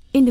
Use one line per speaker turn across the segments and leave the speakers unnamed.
verscheen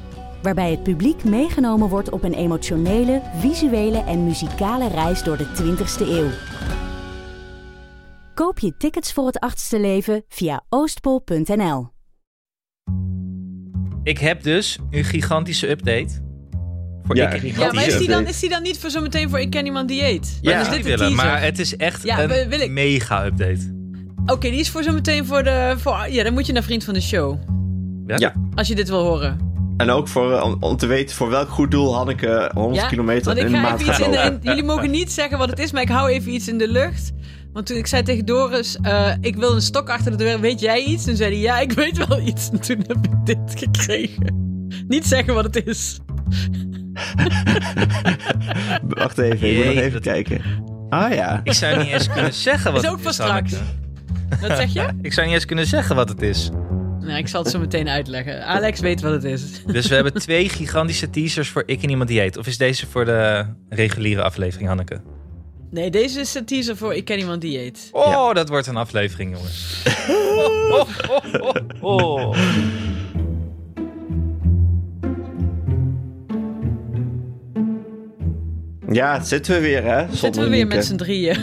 Waarbij het publiek meegenomen wordt op een emotionele, visuele en muzikale reis door de 20ste eeuw. Koop je tickets voor het achtste leven via oostpol.nl.
Ik heb dus een gigantische update. Voor
Ja,
ik een
ja,
Ja, maar
gigantische
is die, dan,
update.
is die dan niet voor zometeen voor ik ken iemand die eet?
Ja,
Dan is
die
dit een
willen,
teaser.
maar het is echt
Ja,
een
wil ik.
mega update.
Oké, die is voor zometeen voor de... Voor, ja, dan moet je naar vriend van de show.
Ja.
Als je dit wil horen.
En ook voor, eh, om, om te weten voor welk goed doel Hanneke 100
ja?
kilometer
Want ik
in de
ga
maand
even iets
gaat
in de...
lopen.
in- jullie mogen niet zeggen wat het is, maar ik hou even iets in de lucht. Want toen ik zei tegen Doris, eh, ik wil een stok achter de deur, weet jij iets? Toen zei hij, ja, ik weet wel iets. En toen heb ik dit gekregen. Niet zeggen wat het is.
Wacht even, ik moet nog
Jee,
even
dat-
kijken. Ah ja.
Ik zou niet eens kunnen zeggen wat
Is ook
het is.
voor straks.
Hanneke.
Wat zeg je?
Ik zou niet eens kunnen zeggen wat het is.
Nou, ik zal het zo meteen uitleggen. Alex weet wat het is.
Dus we hebben twee gigantische teasers voor Ik en Iemand die eet. Of is deze voor de reguliere aflevering, Hanneke?
Nee, deze is de teaser voor Ik ken iemand die eet.
Oh,
Ja.
dat wordt een aflevering, jongens. Oh, oh, oh, oh, oh.
Ja, het zitten we weer hè. Zonder
Zitten we weer
Nienke.
met z'n drieën.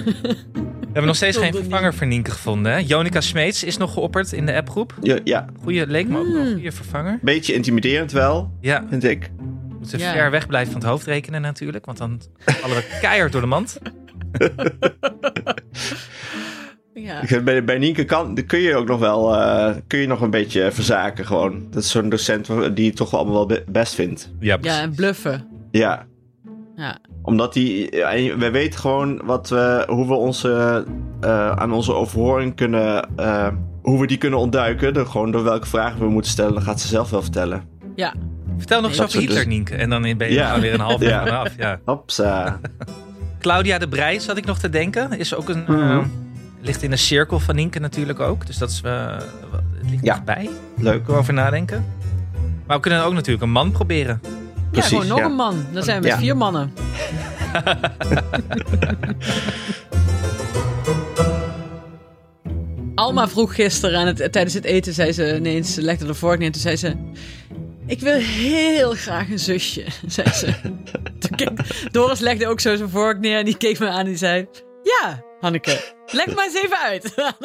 We hebben nog steeds geen
Zonder
vervanger voor Nienke gevonden. Hè? Jonica Smeets is nog geopperd in de appgroep.
Ja, ja,
Goeie, leek me ook nog
Hmm.
een goede vervanger.
beetje intimiderend wel,
Ja, we
vind ik.
moeten
Ja.
ver weg blijven van het hoofd rekenen natuurlijk. Want dan vallen we keihard door de mand.
Ja.
Ik vind Bij, bij Nienke kan, dan kun je ook nog wel eh, kun je nog een beetje verzaken gewoon. Dat is zo'n docent wa- die je toch wel allemaal wel be- best vindt.
Ja,
ja, en bluffen.
Ja,
Ja.
omdat die... ja, en we weten gewoon wat we, hoe we onze, eh, aan onze overhoring kunnen... eh, hoe we die kunnen ontduiken. Door gewoon door welke vragen we moeten stellen. Dat gaat ze zelf wel vertellen.
ja.
Vertel nog eens
Dat
over
soort
Hitler, Nienke. En dan ben je
Ja.
er gewoon weer een half uur
Ja.
vanaf. Ja.
Hopsa.
Claudia de Breij zat ik nog te denken. Is ook een,
Mhm.
eh, ligt in een cirkel van Nienke natuurlijk ook. Dus dat is, eh, wat- het ligt
Ja.
erbij.
Leuk.
Kunnen we over nadenken. Maar we kunnen ook natuurlijk een man proberen.
ja,
Precies,
gewoon nog
ja.
een man. Dan zijn we met
Ja.
vier mannen. Alma vroeg gisteren aan het, tijdens het eten, zei ze ineens, ze legde de vork neer, toen zei ze... Ik wil heel graag een zusje, zei ze. Toen keek- Doris legde ook zo zijn vork neer en die keek me aan en die zei... Ja, Hanneke, leg maar eens even uit.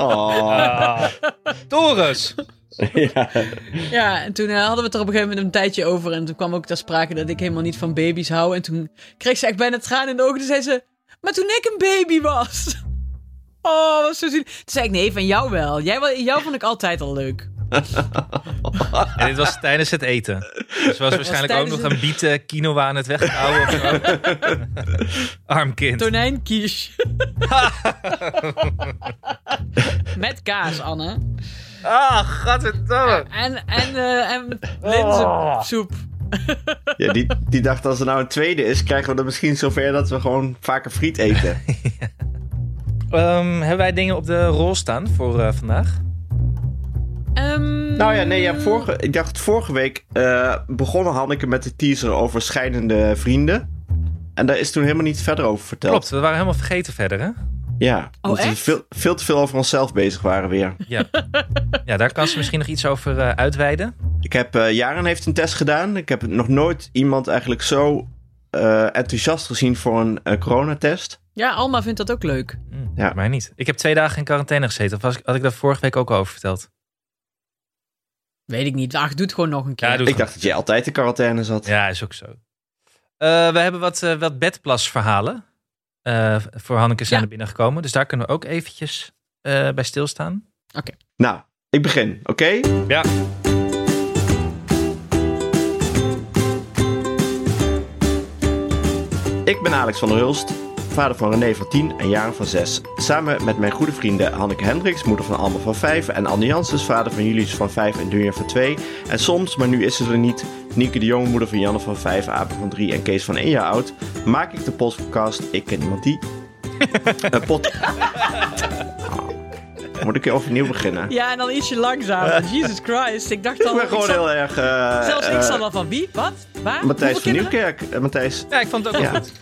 Oh.
Doris!
ja.
Ja, en toen eh, hadden we het er op een gegeven moment een tijdje over. En toen kwam ook ter sprake dat ik helemaal niet van baby's hou. En toen kreeg ze echt bijna tranen in de ogen. Toen zei ze, maar toen ik een baby was. Oh, was zo zielig. Toen zei ik, nee, van jou wel. Jij, wel- jou vond ik altijd al leuk.
En dit was tijdens het eten. Dus was waarschijnlijk ook
tijdens
nog
het-
een bieten quinoa aan het weghouden. of zo. Arm kind.
Tonijnkies. Met kaas, Anne.
Ah, gadverdamme.
En, en, eh en linzensoep.
Ja, die, die dacht als er nou een tweede is, krijgen we er misschien zover dat we gewoon vaker friet eten.
Ehm, hebben wij dingen op de rol staan voor eh, vandaag?
Ehm,
nou ja, nee, ja, vorige, ik dacht vorige week eh begonnen Hanneke met de teaser over scheidende vrienden. En daar is toen helemaal niet verder over verteld.
Klopt, we waren helemaal vergeten verder, hè?
Ja, omdat we
Oh, echt?
veel, veel te veel over onszelf bezig waren weer.
Ja, ja daar kan ze misschien nog iets over eh, uitweiden.
Ik heb, eh Jaren heeft een test gedaan. Ik heb nog nooit iemand eigenlijk zo eh, enthousiast gezien voor een eh, coronatest.
Ja, Alma vindt dat ook leuk.
Hm,
Ja.
Mij niet. Ik heb twee dagen in quarantaine gezeten. Of was, ik- had ik daar vorige week ook al over verteld?
Weet ik niet. Ach, doe het gewoon nog een keer.
Ja, doe
Ik dacht dat jij altijd in quarantaine zat.
Ja, is ook zo. Eh, we hebben wat, eh, wat bedplasverhalen. Eh voor Hanneke zijn
Ja.
er binnengekomen. Dus daar kunnen we ook eventjes eh, bij stilstaan.
Nou, ik begin, oké?
Ja.
Ik ben Alex van der Hulst. vader van René van 10 en Jaren van 6. Samen met mijn goede vrienden Hanneke Hendricks, moeder van Alma van 5 en Anne Janssens, vader van Julius van 5 en Dunja van 2. En soms, maar nu is ze er niet, Nieke de Jong, moeder van Janne van 5, Apen van 3 en Kees van 1 jaar oud, maak ik de podcast Ik Ken Iemand Die. Een pot... Moet ik weer overnieuw beginnen?
Ja, en dan ietsje langzamer. Jesus Christ. Ik dacht
Ik
al...
ben gewoon
zat-
heel erg... eh,
Zelfs ik
eh,
zat al van wie? Wat? Waar?
Matthijs
Hoeveel
van
kinderen?
Nieuwkerk. Eh, Matthijs,
Ja, ik vond het ook wel
Ja.
goed.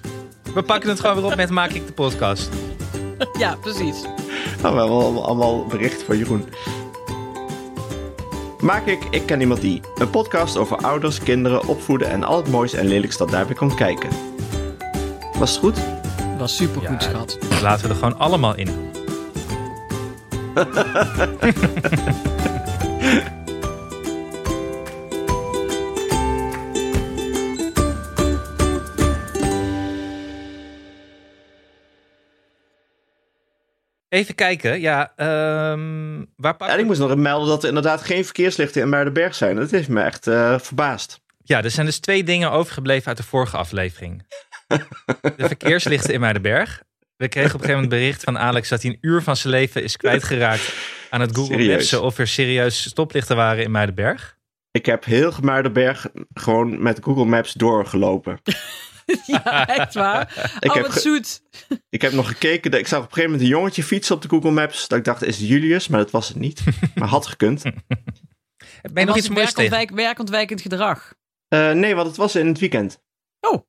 We pakken het gewoon weer op met Maak ik de podcast.
Ja, precies.
Nou, we hebben allemaal- allemaal bericht van Jeroen. Maak ik Ik Ken Iemand Die. Een podcast over ouders, kinderen, opvoeden en al het moois en lelijks dat daarbij komt kijken. Was het goed?
Was supergoed,
Ja.
schat.
Dus Laten we er gewoon allemaal in. Even kijken, ja. ehm, waar pak
En ik moest nog melden dat er inderdaad geen verkeerslichten in Muidenberg zijn. Dat heeft me echt eh, verbaasd.
Ja, er zijn dus twee dingen overgebleven uit de vorige aflevering. De verkeerslichten in Muidenberg. We kregen op een gegeven moment bericht van Alex dat hij een uur van zijn leven is kwijtgeraakt aan het Google
Serieus?
Mapsen of er serieus stoplichten waren in Muidenberg.
Ik heb heel Muidenberg gewoon met Google Maps doorgelopen.
Ja, echt waar.
Ik
oh,
heb
wat
ge-
zoet.
Ik heb nog gekeken. dat- Ik zag op een gegeven moment een jongetje fietsen op de Google Maps. Dat ik dacht, is het Julius? Maar dat was het niet. Maar had gekund.
Ben je nog iets moois tegen?
werkontwijk, Werkontwijkend gedrag.
Eh, nee, want het was in het weekend.
Nou,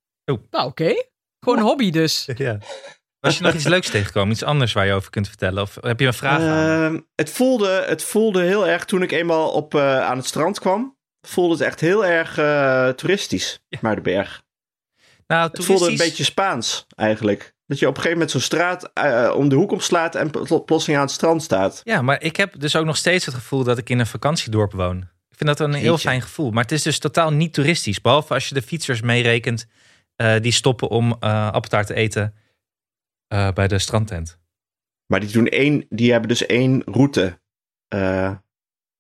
oké. Gewoon een hobby dus.
Ja. Was je nog iets leuks tegengekomen? Iets anders waar je over kunt vertellen? Of heb je een vraag aan? Nou,
Ehm, het, voelde, het voelde heel erg toen ik eenmaal op, eh, aan het strand kwam. Voelde het echt heel erg eh, toeristisch, maar de berg.
Nou,
Het voelde een
toeristisch-
beetje Spaans eigenlijk. Dat je op een gegeven moment zo'n straat eh, om de hoek omslaat en pl- plotseling aan het strand staat.
Ja, maar ik heb dus ook nog steeds het gevoel dat ik in een vakantiedorp woon. Ik vind dat een heel
Jeetje.
fijn gevoel. Maar het is dus totaal niet toeristisch. Behalve als je de fietsers meerekent eh, die stoppen om eh appeltaart te eten eh, bij de strandtent.
Maar die, doen één, die hebben dus één route. eh, en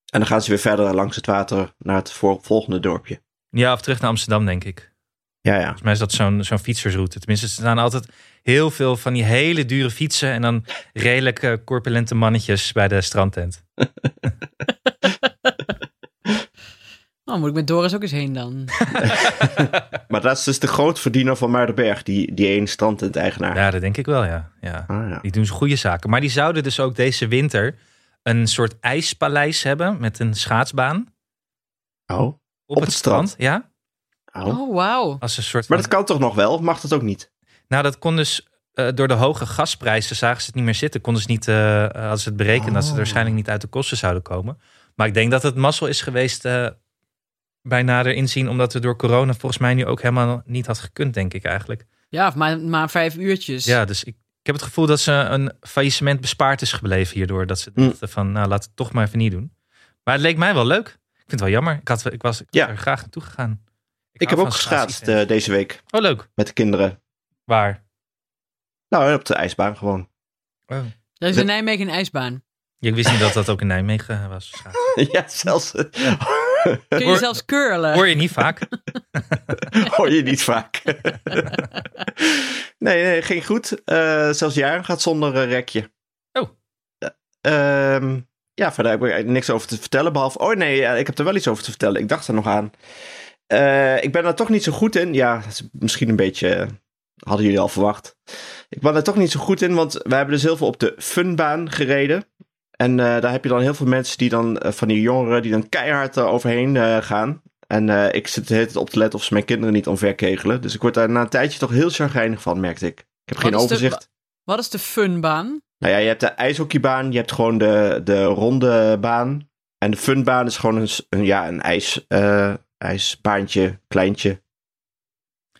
dan gaan ze weer verder langs het water naar het voor- volgende dorpje.
Ja, of terug naar Amsterdam, denk ik. Volgens
Ja, ja.
mij is dat zo'n zo'n fietsersroute. Tenminste, er staan altijd heel veel van die hele dure fietsen... en dan redelijk eh, corpulente mannetjes bij de strandtent.
Nou, moet ik met Doris ook eens heen dan.
Maar dat is dus de grootverdiener van Muidenberg, die, die één strandtent-eigenaar.
Ja, dat denk ik wel, ja. ja.
Ah, ja.
Die doen ze goede zaken. Maar die zouden dus ook deze winter een soort ijspaleis hebben... met een schaatsbaan.
Oh.
Op,
Op
het
het strand?
strand, ja.
Oh.
Oh, wauw.
Als een soort.
Maar
van-
dat kan toch nog wel? Of Mag dat ook niet?
Nou, dat kon dus eh, door de hoge gasprijzen zagen ze het niet meer zitten. Konden ze niet, eh, eh, hadden ze het berekend dat ze er
Oh.
waarschijnlijk niet uit de kosten zouden komen. Maar ik denk dat het mazzel is geweest eh, bij nader inzien, omdat we door corona volgens mij nu ook helemaal niet had gekund, denk ik eigenlijk.
Ja, of maar, maar vijf uurtjes.
Ja, dus ik, ik heb het gevoel dat ze een faillissement bespaard is gebleven hierdoor. Dat ze
Mm.
dachten van, nou, laat het toch maar even niet doen. Maar het leek mij wel leuk. Ik vind het wel jammer. Ik, had, ik was ik was
Ja.
er graag naartoe gegaan.
Ik
hou
heb ook
van
geschaatst
schaatsevents.
eh, deze week
oh, leuk.
met de kinderen.
Waar?
Nou, op de ijsbaan gewoon.
Oh.
Er is in Nijmegen een ijsbaan.
Ja, Ik wist niet dat dat ook in Nijmegen was. schaatsen.
ja, zelfs eh,
Kun je
Hoor-
zelfs curlen.
Hoor je niet vaak.
hoor je niet vaak. nee, nee, ging goed. Eh, zelfs Jaren gaat zonder eh, rekje.
Oh.
Ja, ehm, ja, verder heb ik er niks over te vertellen. Behalve, oh nee, ja, ik heb er wel iets over te vertellen. Ik dacht er nog aan. Eh, ik ben daar toch niet zo goed in. Ja, dat is misschien een beetje... eh, Hadden jullie al verwacht. Ik ben daar toch niet zo goed in, want we hebben dus heel veel op de funbaan gereden. En eh, daar heb je dan heel veel mensen die dan, eh, van die jongeren, die dan keihard er overheen eh, gaan. En eh, ik zit de hele tijd op te letten of ze mijn kinderen niet omverkegelen. Dus ik word daar na een tijdje toch heel chagrijnig van, merkte ik. Ik heb geen
Wat is de-
overzicht.
Wat is de funbaan?
Nou ja, je hebt de ijshockeybaan, je hebt gewoon de, de ronde baan. En de funbaan is gewoon een, s- een, ja, een ijs, eh, ijsbaantje, kleintje.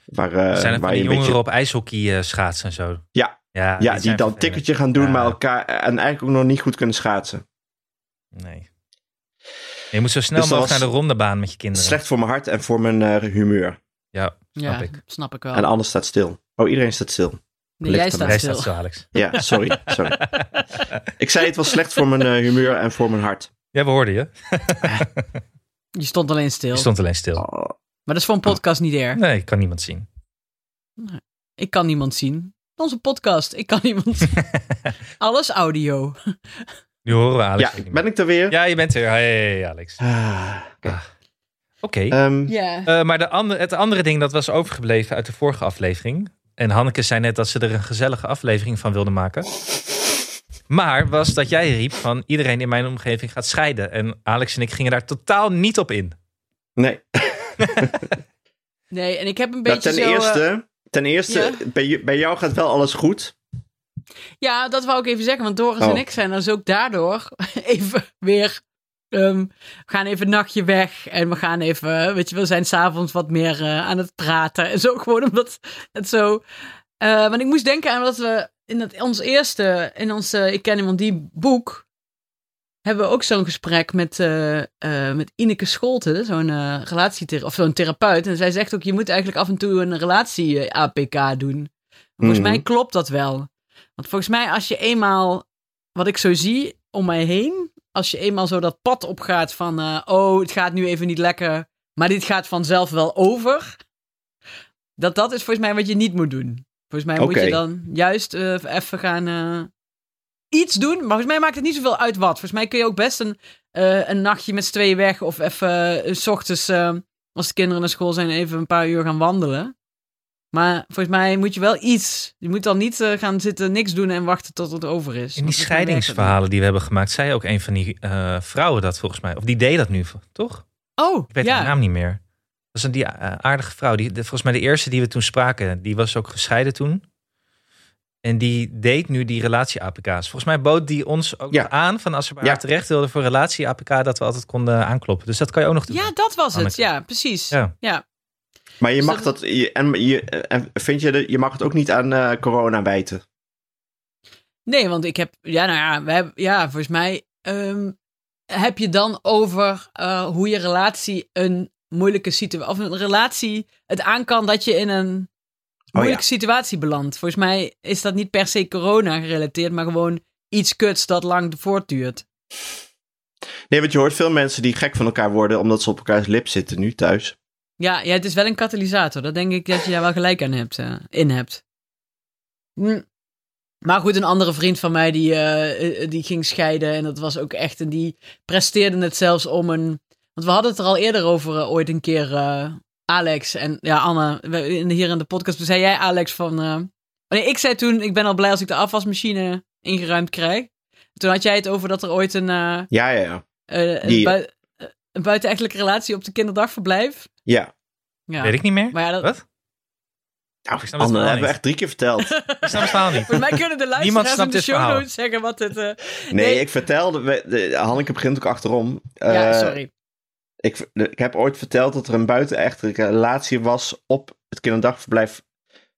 Waar, eh,
Er zijn er van die
waar je een
jongeren
beetje...
op ijshockey eh, schaatsen en zo.
Ja.
ja,
ja, die
zijn
dan
vervelend.
tikketje gaan doen,
Ja.
maar elkaar eh, en eigenlijk ook nog niet goed kunnen schaatsen.
Nee. Je moet zo snel
Dus dat
mogelijk
was
naar de rondebaan met je kinderen.
Slecht voor mijn hart en voor mijn eh, humeur.
Ja, snap
ja,
ik.
snap ik wel.
En alles staat stil. Oh, iedereen staat stil.
Nee,
ligt
jij
aan
staat
Hij
stil.
staat zo, Alex.
Ja, sorry. sorry. Ik zei het was slecht voor mijn eh, humeur en voor mijn hart.
Ja, we hoorden je.
Je stond alleen stil.
Je stond alleen stil.
Oh,
Maar dat is voor een podcast niet erg.
Nee, ik kan niemand zien.
Ik kan niemand zien. Onze podcast. Ik kan iemand. Alles audio.
Nu horen we Alex.
ja,
ook niet
ben ik er weer?
meer. Ja, je bent er. Hey, Alex.
Ah,
Oké.
ehm,
Ja.
Eh, maar de ander, het andere ding dat was overgebleven uit de vorige aflevering. En Hanneke zei net dat ze er een gezellige aflevering van wilde maken. Maar was dat jij riep van iedereen in mijn omgeving gaat scheiden. En Alex en ik gingen daar totaal niet op in.
nee,
Nee, en ik heb een
Nou, ten,
beetje zo... eh,
eerste, ten eerste,
ja.
bij, ju- bij jou gaat wel alles goed.
ja, dat wou ik even zeggen. Want Doris
Oh.
en ik zijn dus ook daardoor even weer... ehm, we gaan even een nachtje weg. En we gaan even... Weet je, we zijn s'avonds wat meer eh, aan het praten. En zo gewoon omdat het zo... eh, want ik moest denken aan dat we in dat, ons eerste... In ons eh, Ik ken iemand die boek... Hebben we ook zo'n gesprek met, eh, eh, met Ineke Scholte, zo'n eh relatiethera- of zo'n therapeut. En zij zegt ook, je moet eigenlijk af en toe een eh, relatie-APK doen. Volgens
Mhm.
mij klopt dat wel. Want volgens mij, als je eenmaal, wat ik zo zie om mij heen, als je eenmaal zo dat pad opgaat van, eh, oh, het gaat nu even niet lekker, maar dit gaat vanzelf wel over. Dat dat is volgens mij wat je niet moet doen. Volgens mij moet
Oké.
je dan juist eh, even gaan eh, iets doen. Maar volgens mij maakt het niet zoveel uit wat. Volgens mij kun je ook best een, eh, een nachtje met z'n tweeën weg of even eh, s ochtends, eh, als de kinderen naar school zijn, even een paar uur gaan wandelen. Maar volgens mij moet je wel iets. Je moet dan niet eh, gaan zitten, niks doen en wachten tot het over is.
In die
Want volgens mij werkt dat
scheidingsverhalen die we hebben gemaakt, zei ook een van die eh, vrouwen dat volgens mij. Of die deed dat nu, toch?
niet. Oh,
Ik weet
ja.
haar naam niet meer. Dat is een die, eh, aardige vrouw. Die, de- volgens mij de eerste die we toen spraken, die was ook gescheiden toen. En die deed nu die relatie-APK's. Volgens mij bood die ons ook
Ja.
nog aan van als we bij
Ja.
haar terecht wilden voor relatie-APK, dat we altijd konden aankloppen. Dus dat kan je ook nog doen.
Ja, dat was het.
Anneke.
Ja, precies.
Ja.
Ja.
Maar je
Dus
mag
dat-
dat, je- en je, en vind je, de, je mag het ook niet aan eh, corona wijten.
Oh Nee, want ik heb. Ja, nou ja, we hebben, ja volgens mij. ehm, heb je dan over eh, hoe je relatie een moeilijke situatie. of een relatie het aan kan dat je in een moeilijke situatie belandt. Volgens mij is dat niet per se corona gerelateerd, maar gewoon iets kuts dat lang voortduurt.
Nee, want je hoort veel mensen die gek van elkaar worden omdat ze op elkaars lip zitten nu thuis.
Ja, ja, het is wel een katalysator. Dat denk ik dat je daar wel gelijk aan hebt, eh, in hebt. Hm. Maar goed, een andere vriend van mij die, eh, eh, die ging scheiden. En dat was ook echt. En die presteerde het zelfs om een. Want we hadden het er al eerder over eh, ooit een keer. eh, Alex en ja, Anne. we- in, hier in de podcast. Toen zei jij, Alex, van. eh, nee, ik zei toen. Ik ben al blij als ik de afwasmachine ingeruimd krijg. Toen had jij het over dat er ooit een. eh,
Ja, ja, ja.
eh, een,
Die-
bui- eh, een buitenechtelijke relatie op de kinderdagverblijf.
Ja.
Ja.
Weet ik niet meer.
Maar ja, dat,
Wat?
Nou,
Ik snap het
Anne,
wel
dat hebben
niet.
we echt drie keer verteld.
Ik snap het verhaal niet.
Volgens mij kunnen de luisteraars in
snapt
de
dit
show
verhaal.
notes zeggen wat het... eh,
Nee,
Nee.
ik vertelde, we, de, Hanneke begint ook achterom.
ja,
Eh,
sorry.
Ik, de- ik heb ooit verteld dat er een buitenechtelijke relatie was op het kinderdagverblijf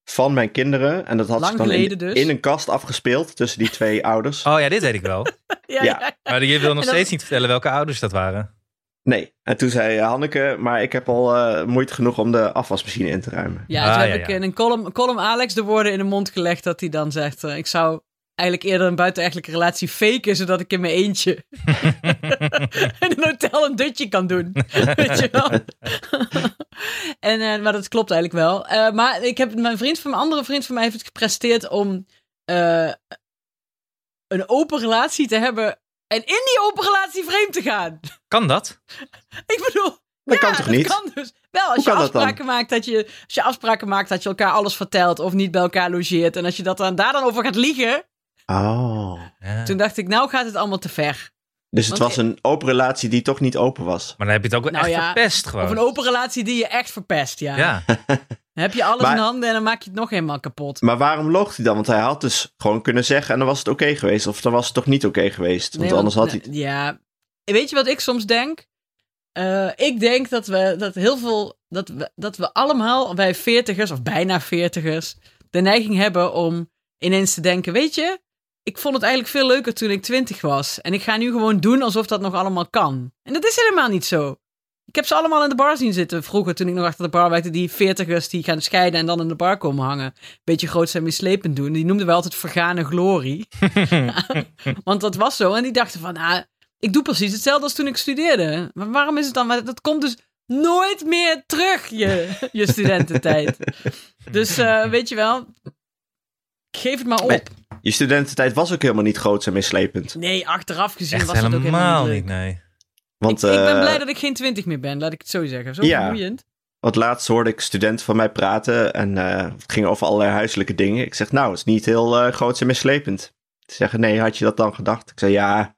van mijn kinderen. En dat had
Lang
zich dan in,
geleden dus.
in een kast afgespeeld tussen die twee ouders.
Oh ja, dit weet ik wel.
Ja,
ja.
ja.
Maar je wil nog
En dat-
steeds niet vertellen welke ouders dat waren.
Nee. En toen zei eh, Hanneke, maar ik heb al eh, moeite genoeg om de afwasmachine in te ruimen.
Ja,
Ah,
toen heb
ja,
ik
ja.
in een column, column Alex de woorden in de mond gelegd dat hij dan zegt... eh, ik zou eigenlijk eerder een buitenechtelijke relatie faken, zodat ik in mijn eentje in een hotel een dutje kan doen. Weet je wel? en, eh, maar dat klopt eigenlijk wel. Eh, maar ik heb, mijn vriend van mijn andere vriend van mij heeft het gepresteerd om eh, een open relatie te hebben... En in die open relatie vreemd te gaan.
Kan dat?
Ik bedoel,
Dat kan toch niet?
Dat kan dus. Wel, als je,
kan dat dan?
afspraken maakt dat je, als je afspraken maakt dat je elkaar alles vertelt of niet bij elkaar logeert. En als je dat dan, daar dan over gaat liegen.
Oh.
Ja.
Toen dacht ik, nou gaat het allemaal te ver.
Dus het
Want-
was een open relatie die toch niet open was.
Maar dan heb je het ook wel
Nou
echt
ja,
verpest gewoon.
Of een open relatie die je echt verpest, ja.
Ja.
Dan heb je alles
Maar-
in handen en dan maak je het nog helemaal kapot.
Maar waarom loog hij dan? Want hij had dus gewoon kunnen zeggen en dan was het oké geweest. Of dan was het toch niet oké geweest. Want
Nee,
anders had hij...
nee, Ja. Weet je wat ik soms denk? Eh, ik denk dat we dat heel veel. Dat we, dat we allemaal, wij veertigers of bijna veertigers, de neiging hebben om ineens te denken: Weet je, ik vond het eigenlijk veel leuker toen ik twintig was. En ik ga nu gewoon doen alsof dat nog allemaal kan. En dat is helemaal niet zo. Ik heb ze allemaal in de bar zien zitten vroeger, toen ik nog achter de bar werkte. Die veertigers die gaan scheiden en dan in de bar komen hangen. Beetje groot zijn mislepend doen. Die noemden we altijd vergane glorie. Want dat was zo. En die dachten van, ah, ik doe precies hetzelfde als toen ik studeerde. Maar waarom is het dan? Dat komt dus nooit meer terug, je, je studententijd. Dus eh, weet je wel, Geef het maar op.
Nee. Je studententijd was ook helemaal niet groots en meeslepend.
Nee, achteraf gezien
Echt
was het ook
helemaal
helemaal
niet,
leuk.
nee.
Want,
ik, ik ben
eh,
blij dat ik geen twintig meer ben, laat ik het zo zeggen. Zo
Ja.
vermoeiend.
Want laatst hoorde ik studenten van mij praten en eh, het ging over allerlei huiselijke dingen. Ik zeg, nou, het is niet heel eh groots en mislepend. Ze zeggen, nee, had je dat dan gedacht? Ik zei, ja,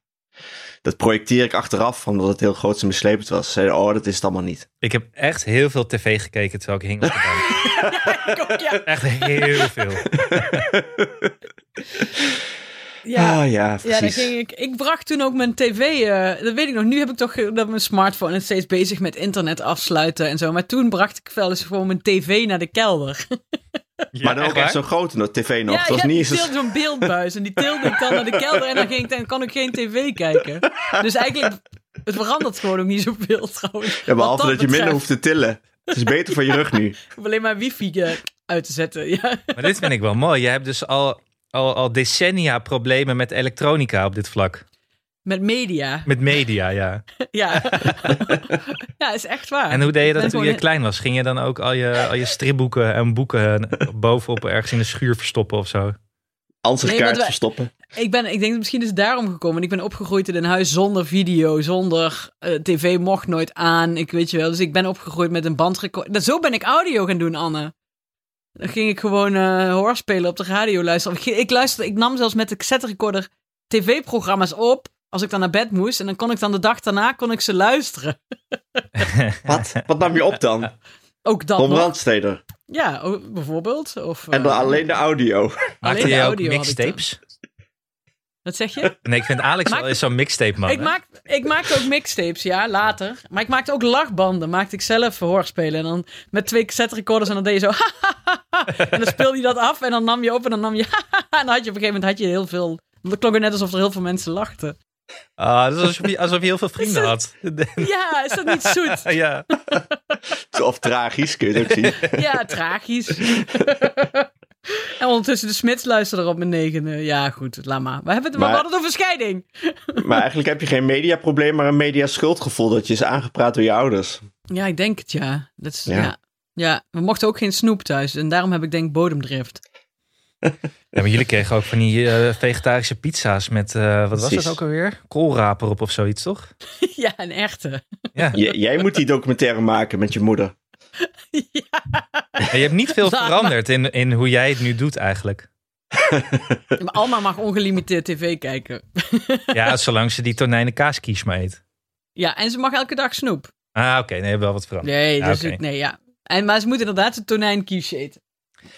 dat projecteer ik achteraf, omdat het heel groots en mislepend was. Ze zeiden, oh, dat is het allemaal niet.
Ik heb echt heel veel tv gekeken terwijl ik hing op de bank.
Ik ook, ja.
Echt heel veel.
Ja.
Ah, ja,
Ja, dan
precies.
ging ik. Ik bracht toen ook mijn tv. eh, dat weet ik nog. Nu heb ik toch eh, dat mijn smartphone is steeds bezig met internet afsluiten en zo. Maar toen bracht ik wel eens gewoon mijn tv naar de kelder.
Maar dan ook echt
zo.
zo'n grote no- tv nog.
ja,
Het was
ja,
niet eens
die
een-
tilde zo'n beeldbuis en die tilde ik dan naar de kelder en dan ging ik dan kan ik geen tv kijken. Dus eigenlijk het verandert gewoon ook niet zoveel trouwens.
ja,
Wat
behalve dat, je minder
betreft.
hoeft te tillen. Het is beter voor je rug nu.
Ik hoef alleen maar wifi eh, uit te zetten. Ja.
Maar dit vind ik wel mooi. Je hebt dus al, al, al decennia problemen met elektronica op dit vlak.
Met media.
Met media, ja.
Ja. ja, is echt waar.
En hoe deed je dat
ben
toen je
gewoon-
klein was? Ging je dan ook al je, al je stripboeken en boeken bovenop ergens in de schuur verstoppen of zo?
Ansichtkaart
Nee, want wij-
verstoppen.
Ik, ben, ik denk dat misschien is het daarom gekomen. Ik ben opgegroeid in een huis zonder video, zonder eh, tv mocht nooit aan. Ik weet je wel. Dus ik ben opgegroeid met een bandrecorder. Dat- Zo ben ik audio gaan doen, Anne. Dan ging ik gewoon eh hoorspelen op de radio luisteren. Of Ik, ik luisterde, ik nam zelfs met de cassette recorder tv-programma's op. Als ik dan naar bed moest. En dan kon ik dan de dag daarna kon ik ze luisteren.
Wat? Wat nam je op dan?
Ook dat
Tom
nog.
Brandsteder.
Ja, o- bijvoorbeeld. Of,
En dan
eh,
alleen de audio.
Alleen
Maakte
de
je ook
audio had ik
mixtapes?
Wat zeg je?
Nee, ik vind Alex
Maak-
wel is zo'n mixtape man.
Ik,
hè?
maak, ik maakte ook mixtapes, ja, later. Maar ik maakte ook lachbanden. Maakte ik zelf verhoorspelen. En dan met twee cassette recorders en dan deed je zo... en dan speelde je dat af en dan nam je op en dan nam je... en dan had je op een gegeven moment had je heel veel... Het klonk het net alsof er heel veel mensen lachten.
Ah, dat is alsof je, alsof je heel veel vrienden had. Nou
Ja, is dat niet zoet?
ja.
Of tragisch, kun je het ook zien.
Ja, tragisch. en ondertussen de Smits luisterde op mijn negende. Ja, goed, laat maar. We, hebben het, maar... we
Maar-
hadden het over scheiding.
Maar eigenlijk heb je geen mediaprobleem, maar een mediaschuldgevoel dat je is aangepraat door je ouders.
Ja, ik denk het, ja. Dat is, ja.
Ja.
ja. we mochten ook geen snoep thuis. En daarom heb ik denk bodemdrift.
Ja, maar jullie kregen ook van die eh, vegetarische pizza's met, eh, wat was
Precies.
dat ook alweer? Koolraper op of zoiets, toch?
ja, een echte.
Ja.
J- jij moet die documentaire maken met je moeder.
En je hebt niet veel
Laat maar.
veranderd in, in hoe jij het nu doet eigenlijk.
Ja, Maar Alma mag ongelimiteerd tv kijken.
Ja, zolang ze die tonijnen kaaskies maar eet.
Ja, en ze mag elke dag snoep.
Ah, oké, nee, wel wat veranderd.
Nee,
Ja,
dus
oké.
ik- nee, ja. En, maar ze moet inderdaad een tonijnkiesje eten.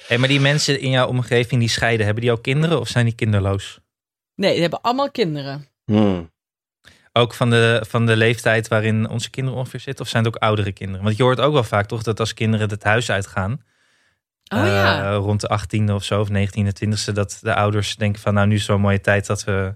Hey, maar die mensen in jouw omgeving die scheiden, hebben die al kinderen of zijn die kinderloos?
Nee, ze hebben allemaal kinderen.
Hmm.
Ook van de, van de leeftijd waarin onze kinderen ongeveer zitten? Of zijn het ook oudere kinderen? Want je hoort ook wel vaak toch dat als kinderen het huis uitgaan,
Oh ja.
eh, rond de 18e of zo, of 19e, 20e, dat de ouders denken van nou nu is zo'n mooie tijd dat we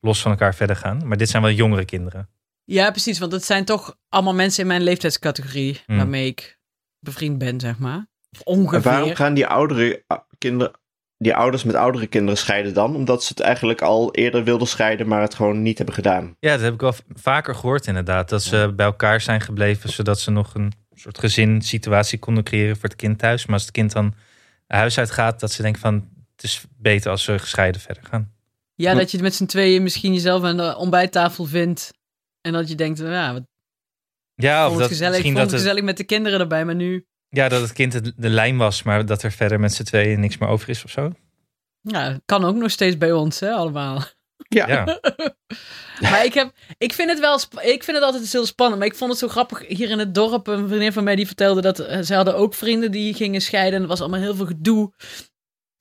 los van elkaar verder gaan. Maar dit zijn wel jongere kinderen.
Ja, precies. Want het zijn toch allemaal mensen in mijn leeftijdscategorie
Hmm.
waarmee ik bevriend ben, zeg maar. Of
En waarom
Ongeveer.
gaan die, oudere, ah, kinderen, die ouders met oudere kinderen scheiden dan? Omdat ze het eigenlijk al eerder wilden scheiden, maar het gewoon niet hebben gedaan.
Ja, dat heb ik wel v- vaker gehoord inderdaad. Dat ze bij elkaar zijn gebleven zodat ze nog een soort gezinssituatie konden creëren voor het kind thuis. Maar als het kind dan huis uit gaat, dat ze denken van het is beter als ze gescheiden verder gaan.
Ja, dat je het met z'n tweeën misschien jezelf aan de ontbijttafel vindt. En dat je denkt, nou ja, wat
Ja, of
vond het
dat,
gezellig. Ik
misschien
vond
dat
het
het,
gezellig met de kinderen erbij, maar nu...
ja, dat het kind het- de lijn was, maar dat er verder met z'n tweeën niks meer over is of zo.
Ja, kan ook nog steeds bij ons, hè, allemaal.
Ja,
Ja,
Maar ik, heb, ik, vind het wel, sp- ik vind het altijd dus heel spannend. Maar ik vond het zo grappig hier in het dorp. Een vriendin van mij die vertelde dat eh, ze hadden ook vrienden die gingen scheiden. En er was allemaal heel veel gedoe.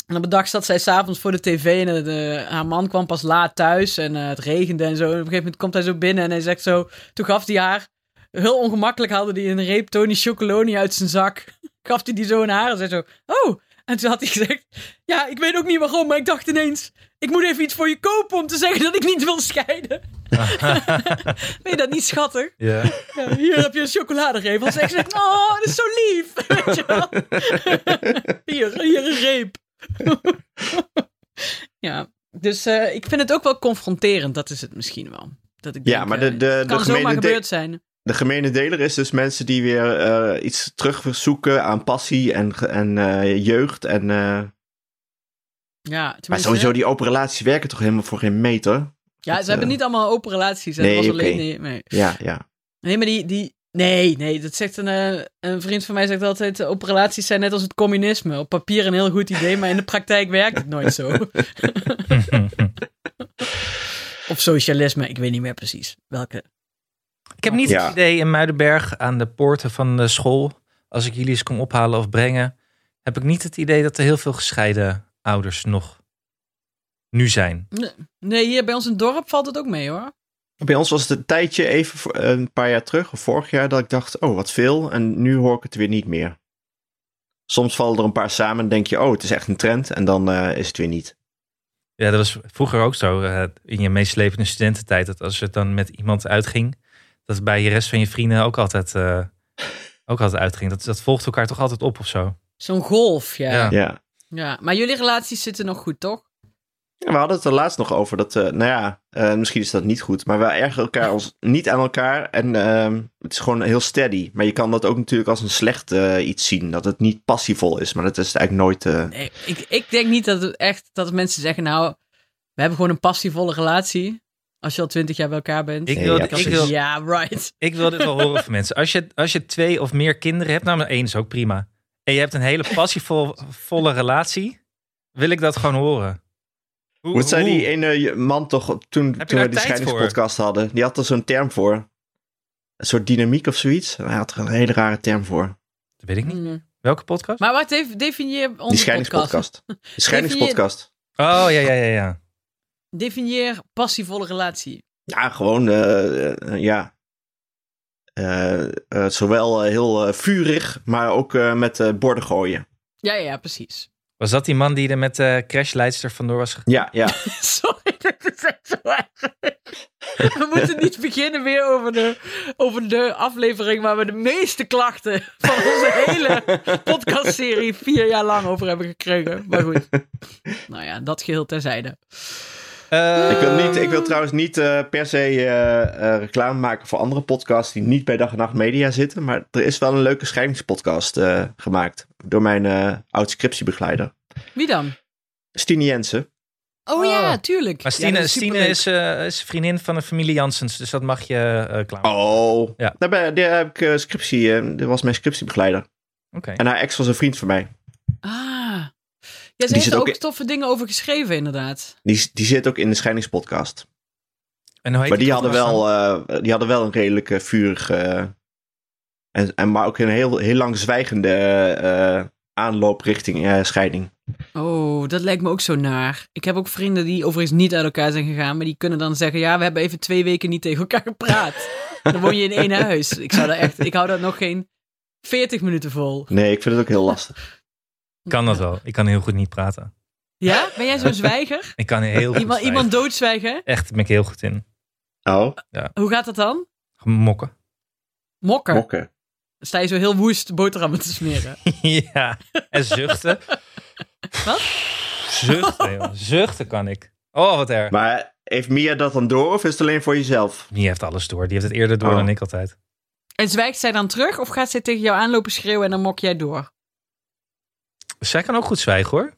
En op een dag zat zij s'avonds voor de tv en eh, de- haar man kwam pas laat thuis en eh, het regende en zo. En op een gegeven moment komt hij zo binnen en hij zegt zo... Toen gaf hij haar, heel ongemakkelijk haalde hij een reep Tony Chocoloni uit zijn zak. Gaf hij die zo in haar en zei zo... Oh! En toen had hij gezegd... Ja, ik weet ook niet waarom, maar ik dacht ineens... Ik moet even iets voor je kopen om te zeggen dat ik niet wil scheiden. Vind je dat niet schattig?
ja.
Ja, hier heb je een chocoladereep. Als ik zeg, oh, dat is zo lief. Weet je wel? hier, hier een reep. ja, dus eh, ik vind het ook wel confronterend. Dat is het misschien wel. Dat ik
Ja,
denk,
maar de-
eh,
de-
het
de
kan zomaar
gemene de-
gebeurd zijn.
De gemene deler is dus mensen die weer eh, iets terugzoeken aan passie en, ge- en eh, jeugd en eh,
Ja,
Maar
tenminste-
sowieso, die open relaties werken toch helemaal voor geen meter?
Ja,
Dat,
ze hebben
eh,
niet allemaal open relaties. hè.
nee,
dat was alleen,
oké.
nee, nee.
Ja, ja.
Nee, maar die, die... Nee, nee, dat zegt een, eh, een vriend van mij zegt altijd... eh, open relaties zijn net als het communisme. Op papier een heel goed idee, maar in de praktijk werkt het nooit zo. of socialisme, ik weet niet meer precies welke.
Ik heb niet
Ja.
het idee in Muidenberg aan de poorten van de school, als ik jullie eens kom ophalen of brengen, heb ik niet het idee dat er heel veel gescheiden ouders nog nu zijn.
Nee, hier bij ons in het dorp valt het ook mee, hoor.
Bij ons was het een tijdje even, voor- een paar jaar terug, of vorig jaar, dat ik dacht, oh, wat veel. En nu hoor ik het weer niet meer. Soms vallen er een paar samen en denk je, oh, het is echt een trend. En dan eh, is het weer niet.
Ja, dat was vroeger ook zo eh, in je meeslepende studententijd. Dat als het dan met iemand uitging, dat het bij je rest van je vrienden ook altijd, eh, ook altijd uitging. Dat, dat volgt elkaar toch altijd op of zo.
Zo'n golf, ja.
Ja.
ja.
Ja.
Maar jullie relaties zitten nog goed, toch?
Ja, We hadden het er laatst nog over dat, eh, nou ja, eh, misschien is dat niet goed, maar we ergeren elkaar ons niet aan elkaar en ehm, het is gewoon heel steady. Maar je kan dat ook natuurlijk als een slecht eh, iets zien, dat het niet passievol is, maar dat is het eigenlijk nooit. eh,
Nee, ik, ik denk niet dat het echt dat mensen zeggen, nou, we hebben gewoon een passievolle relatie. Als je al twintig jaar bij elkaar bent.
Ik
Nee,
wil,
ja,
ik
precies.
wil,
Ja, right.
Ik wil dit wel horen van mensen. Als je, als je twee of meer kinderen hebt, nou maar één is ook prima. En je hebt een hele passievolle relatie, wil ik dat gewoon horen. Hoe,
Wat zei
hoe-
die ene je- man toch op- toen,
daar
toen we die
tijd voor?
scheidingspodcast hadden? Die had er zo'n term voor. Een soort dynamiek of zoiets. En Hij had er een hele rare term voor.
Dat weet ik niet. Welke podcast?
Mm. Maar wat def- definieer
Die
onze podcast?
scheidingspodcast. De scheidingspodcast.
Oh, ja, ja, ja, ja.
Definieer passievolle relatie.
Ja, gewoon, eh, eh, eh, ja. Eh, eh, zowel eh, heel eh, vurig, maar ook eh, met eh, borden gooien.
Ja, ja, ja, precies.
Was dat die man die er met de crashleidster vandoor was gegaan?
Ja, ja.
Sorry, dat is echt zo erg. We moeten niet beginnen weer over de, over de aflevering waar we de meeste klachten van onze hele podcastserie vier jaar lang over hebben gekregen. Maar goed. Nou ja, dat geheel terzijde.
Eh,
ik, wil niet, ik wil trouwens niet eh, per se eh, eh, reclame maken voor andere podcasts die niet bij Dag en Nacht Media zitten. Maar er is wel een leuke scheidingspodcast eh, gemaakt door mijn eh oud-scriptiebegeleider.
Wie dan?
Stine Jensen.
Oh,
Oh.
ja, tuurlijk.
Maar
Ja,
Stine,
dat
is, Stine
superleuk.
is, eh, is vriendin van de familie Janssens, dus dat mag je eh klaar.
Oh,
Ja.
daar, ben, daar heb ik eh, scriptie. eh, dat was mijn scriptiebegeleider.
Oké.
En haar ex was een vriend van mij.
Ah. Ja, ze
Die
heeft
zit
er
ook
ook
in-
toffe dingen over geschreven, inderdaad.
Die, die zit ook in de scheidingspodcast.
En hoe heet
Maar die hadden,
podcast dan?
wel, eh, die hadden wel een redelijk eh, vurig. eh, en, en, maar ook een heel, heel lang zwijgende eh, eh, aanloop richting eh, scheiding.
Oh, dat lijkt me ook zo naar. Ik heb ook vrienden die overigens niet uit elkaar zijn gegaan, maar die kunnen dan zeggen: Ja, we hebben even twee weken niet tegen elkaar gepraat. dan woon je in één huis. Ik zou daar echt, ik hou dat nog geen 40 minuten vol.
Nee, ik vind het ook heel lastig.
Kan dat wel. Ik kan heel goed niet praten.
Ja? Ben jij zo'n zwijger?
Ik kan heel goed
Iemand,
zwijgen.
iemand doodzwijgen?
Echt, daar ben ik heel goed in.
Oh,
Hoe gaat dat dan?
Mokken.
Mokken.
mokken.
Sta je zo heel woest boterhammen te smeren?
ja, en zuchten.
Wat?
Zuchten, joh. Zuchten kan ik. Oh, wat erg.
Maar heeft Mia dat dan door of is het alleen voor jezelf?
Die heeft alles door. Die heeft het eerder door
Oh.
dan ik altijd.
En zwijgt zij dan terug of gaat zij tegen jou aanlopen schreeuwen en dan mok jij door?
Zij kan ook goed zwijgen, hoor.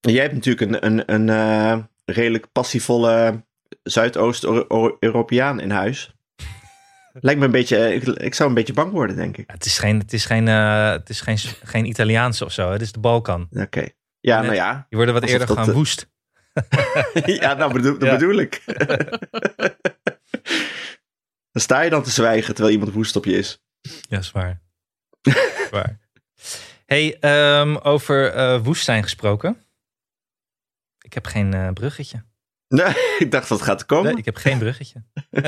Jij hebt natuurlijk een, een, een eh, redelijk passievolle Zuidoost-Europeaan in huis. Lijkt me een beetje, eh, ik, ik zou een beetje bang worden, denk ik.
Ja, Het is geen, het is geen, eh, het is geen, geen Italiaans of zo. Het is de Balkan.
Oké. Ja,
Net.
nou ja.
Die worden wat
Alsof
eerder
dat,
gewoon
eh,
woest.
ja, nou bedoel, dat
Ja.
bedoel ik. dan sta je dan te zwijgen terwijl iemand woest op je is.
Ja, is waar. Is waar. Hey, ehm, over eh, woest zijn gesproken. Ik heb geen eh, bruggetje.
Nee, ik dacht dat gaat komen.
Nee, ik heb geen bruggetje.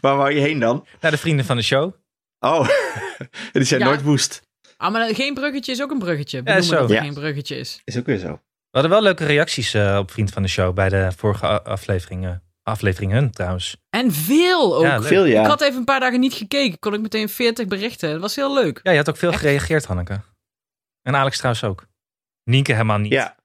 Waar wou je heen dan?
Naar de vrienden van de show.
Oh, die zijn
Ja.
nooit woest.
Ah, maar geen bruggetje is ook een bruggetje. Benoemen
zo.
dat er
Ja.
geen bruggetje is.
Is ook weer zo.
We hadden wel leuke reacties eh, op Vriend van de Show bij de vorige a- afleveringen. Afleveringen trouwens.
En veel ook.
Ja, leuk.
Veel ja.
Ik had even een paar dagen niet gekeken. Kon ik meteen 40 berichten. Dat was heel leuk.
Ja, je had ook veel gereageerd, Hanneke. En Alex trouwens ook. Nienke helemaal niet.
Ja.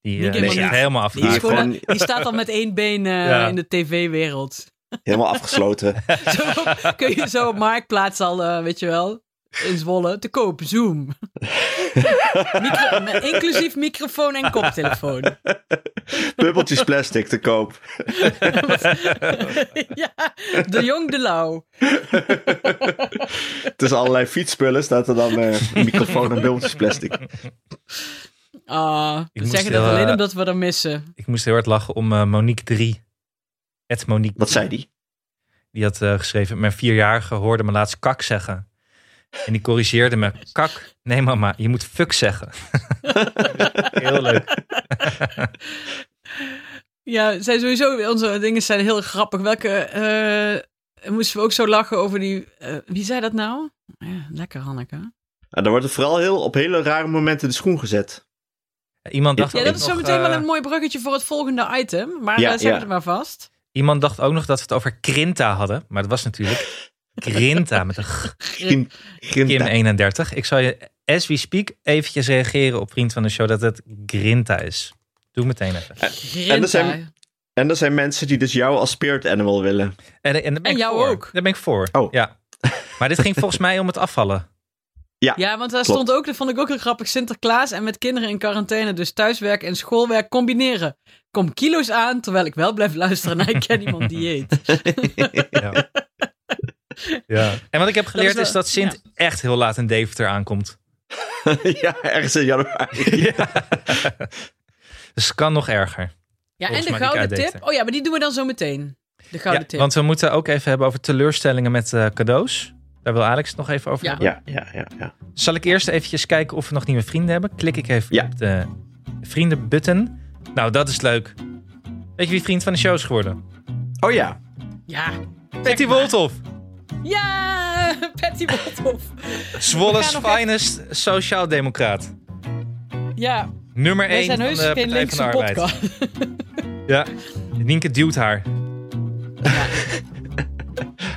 Die eh,
Nienke helemaal
is
niet.
helemaal
Die, is
Ja,
afgehaakt.
gewoon, eh,
gewoon-
die staat al met één been eh,
Ja.
in de tv-wereld.
Helemaal afgesloten.
Zo kun je zo op Marktplaats al, eh, weet je wel. in Zwolle te koop. Zoom. Micro- met- inclusief microfoon en koptelefoon.
Bubbeltjes plastic te koop.
ja, de jong de lauw.
Tussen allerlei fietsspullen staat er dan eh, een microfoon en bubbeltjes plastic.
Ah, we
moest
zeggen dat
heel,
alleen
eh,
omdat we dat missen.
Ik moest heel hard lachen om eh, Monique 3. Het Monique.
Wat zei die?
Die had eh, geschreven, mijn vierjarige hoorde me laatst kak zeggen. En die corrigeerde me, kak, nee mama, je moet fuck zeggen. heel leuk.
Ja, zijn sowieso, onze dingen zijn heel grappig. Welke, eh, moesten we ook zo lachen over die, eh, wie zei dat nou? Ja, lekker Hanneke.
Nou, dan wordt er vooral heel, op hele rare momenten de schoen gezet.
Iemand dacht,
Ja,
ook
dat is zo
nog,
meteen wel
eh,
een mooi bruggetje voor het volgende item. Maar
Ja,
eh, zeg
ja.
het maar vast.
iemand dacht ook nog dat we het over Krinta hadden. Maar dat was natuurlijk Krinta met een g-
Grin-
Kim
grinta.
31. Ik zal je, as we speak, eventjes reageren op vriend van de show dat het Grinta is. Doe meteen even.
Grinta.
zijn- En er zijn mensen die dus jou als spirit animal willen.
En, en, daar ben
En
ik
jou
voor.
ook.
Daar ben ik voor.
Oh.
Ja. Maar dit ging volgens mij om het afvallen.
Ja, want daar
Klopt.
stond ook, dat vond ik ook heel grappig, Sinterklaas en met kinderen in quarantaine, dus thuiswerk en schoolwerk combineren. Kom kilo's aan, terwijl ik wel blijf luisteren naar ik ken iemand die eet.
Ja. ja. En wat ik heb geleerd
is wel-
is dat Sint echt heel laat in Deventer aankomt.
ja, ergens in januari.
Dus het kan nog erger.
Ja,
Volgens
en de
mij die
gouden
kaart
tip.
deed er.
Oh ja, maar die doen we dan zo meteen. De gouden
Ja,
tip.
want we moeten ook even hebben over teleurstellingen met eh, cadeaus. Daar wil Alex het nog even over
Ja.
hebben.
Ja, ja, ja. ja.
Zal ik eerst eventjes kijken of we nog nieuwe vrienden hebben? Klik ik even
Ja.
op de vriendenbutton. Nou, dat is leuk. Weet je wie vriend van de show is geworden?
Oh ja.
Ja.
Betty Wolthoff.
Ja, Patty Wolthoff.
Zwolle's
nog even-
finest sociaaldemocraat.
Ja,
Nummer
wij
1
zijn
van de
heus
Partij
geen
van de
linkse
Arbeid.
podcast.
Ja, Nienke duwt haar.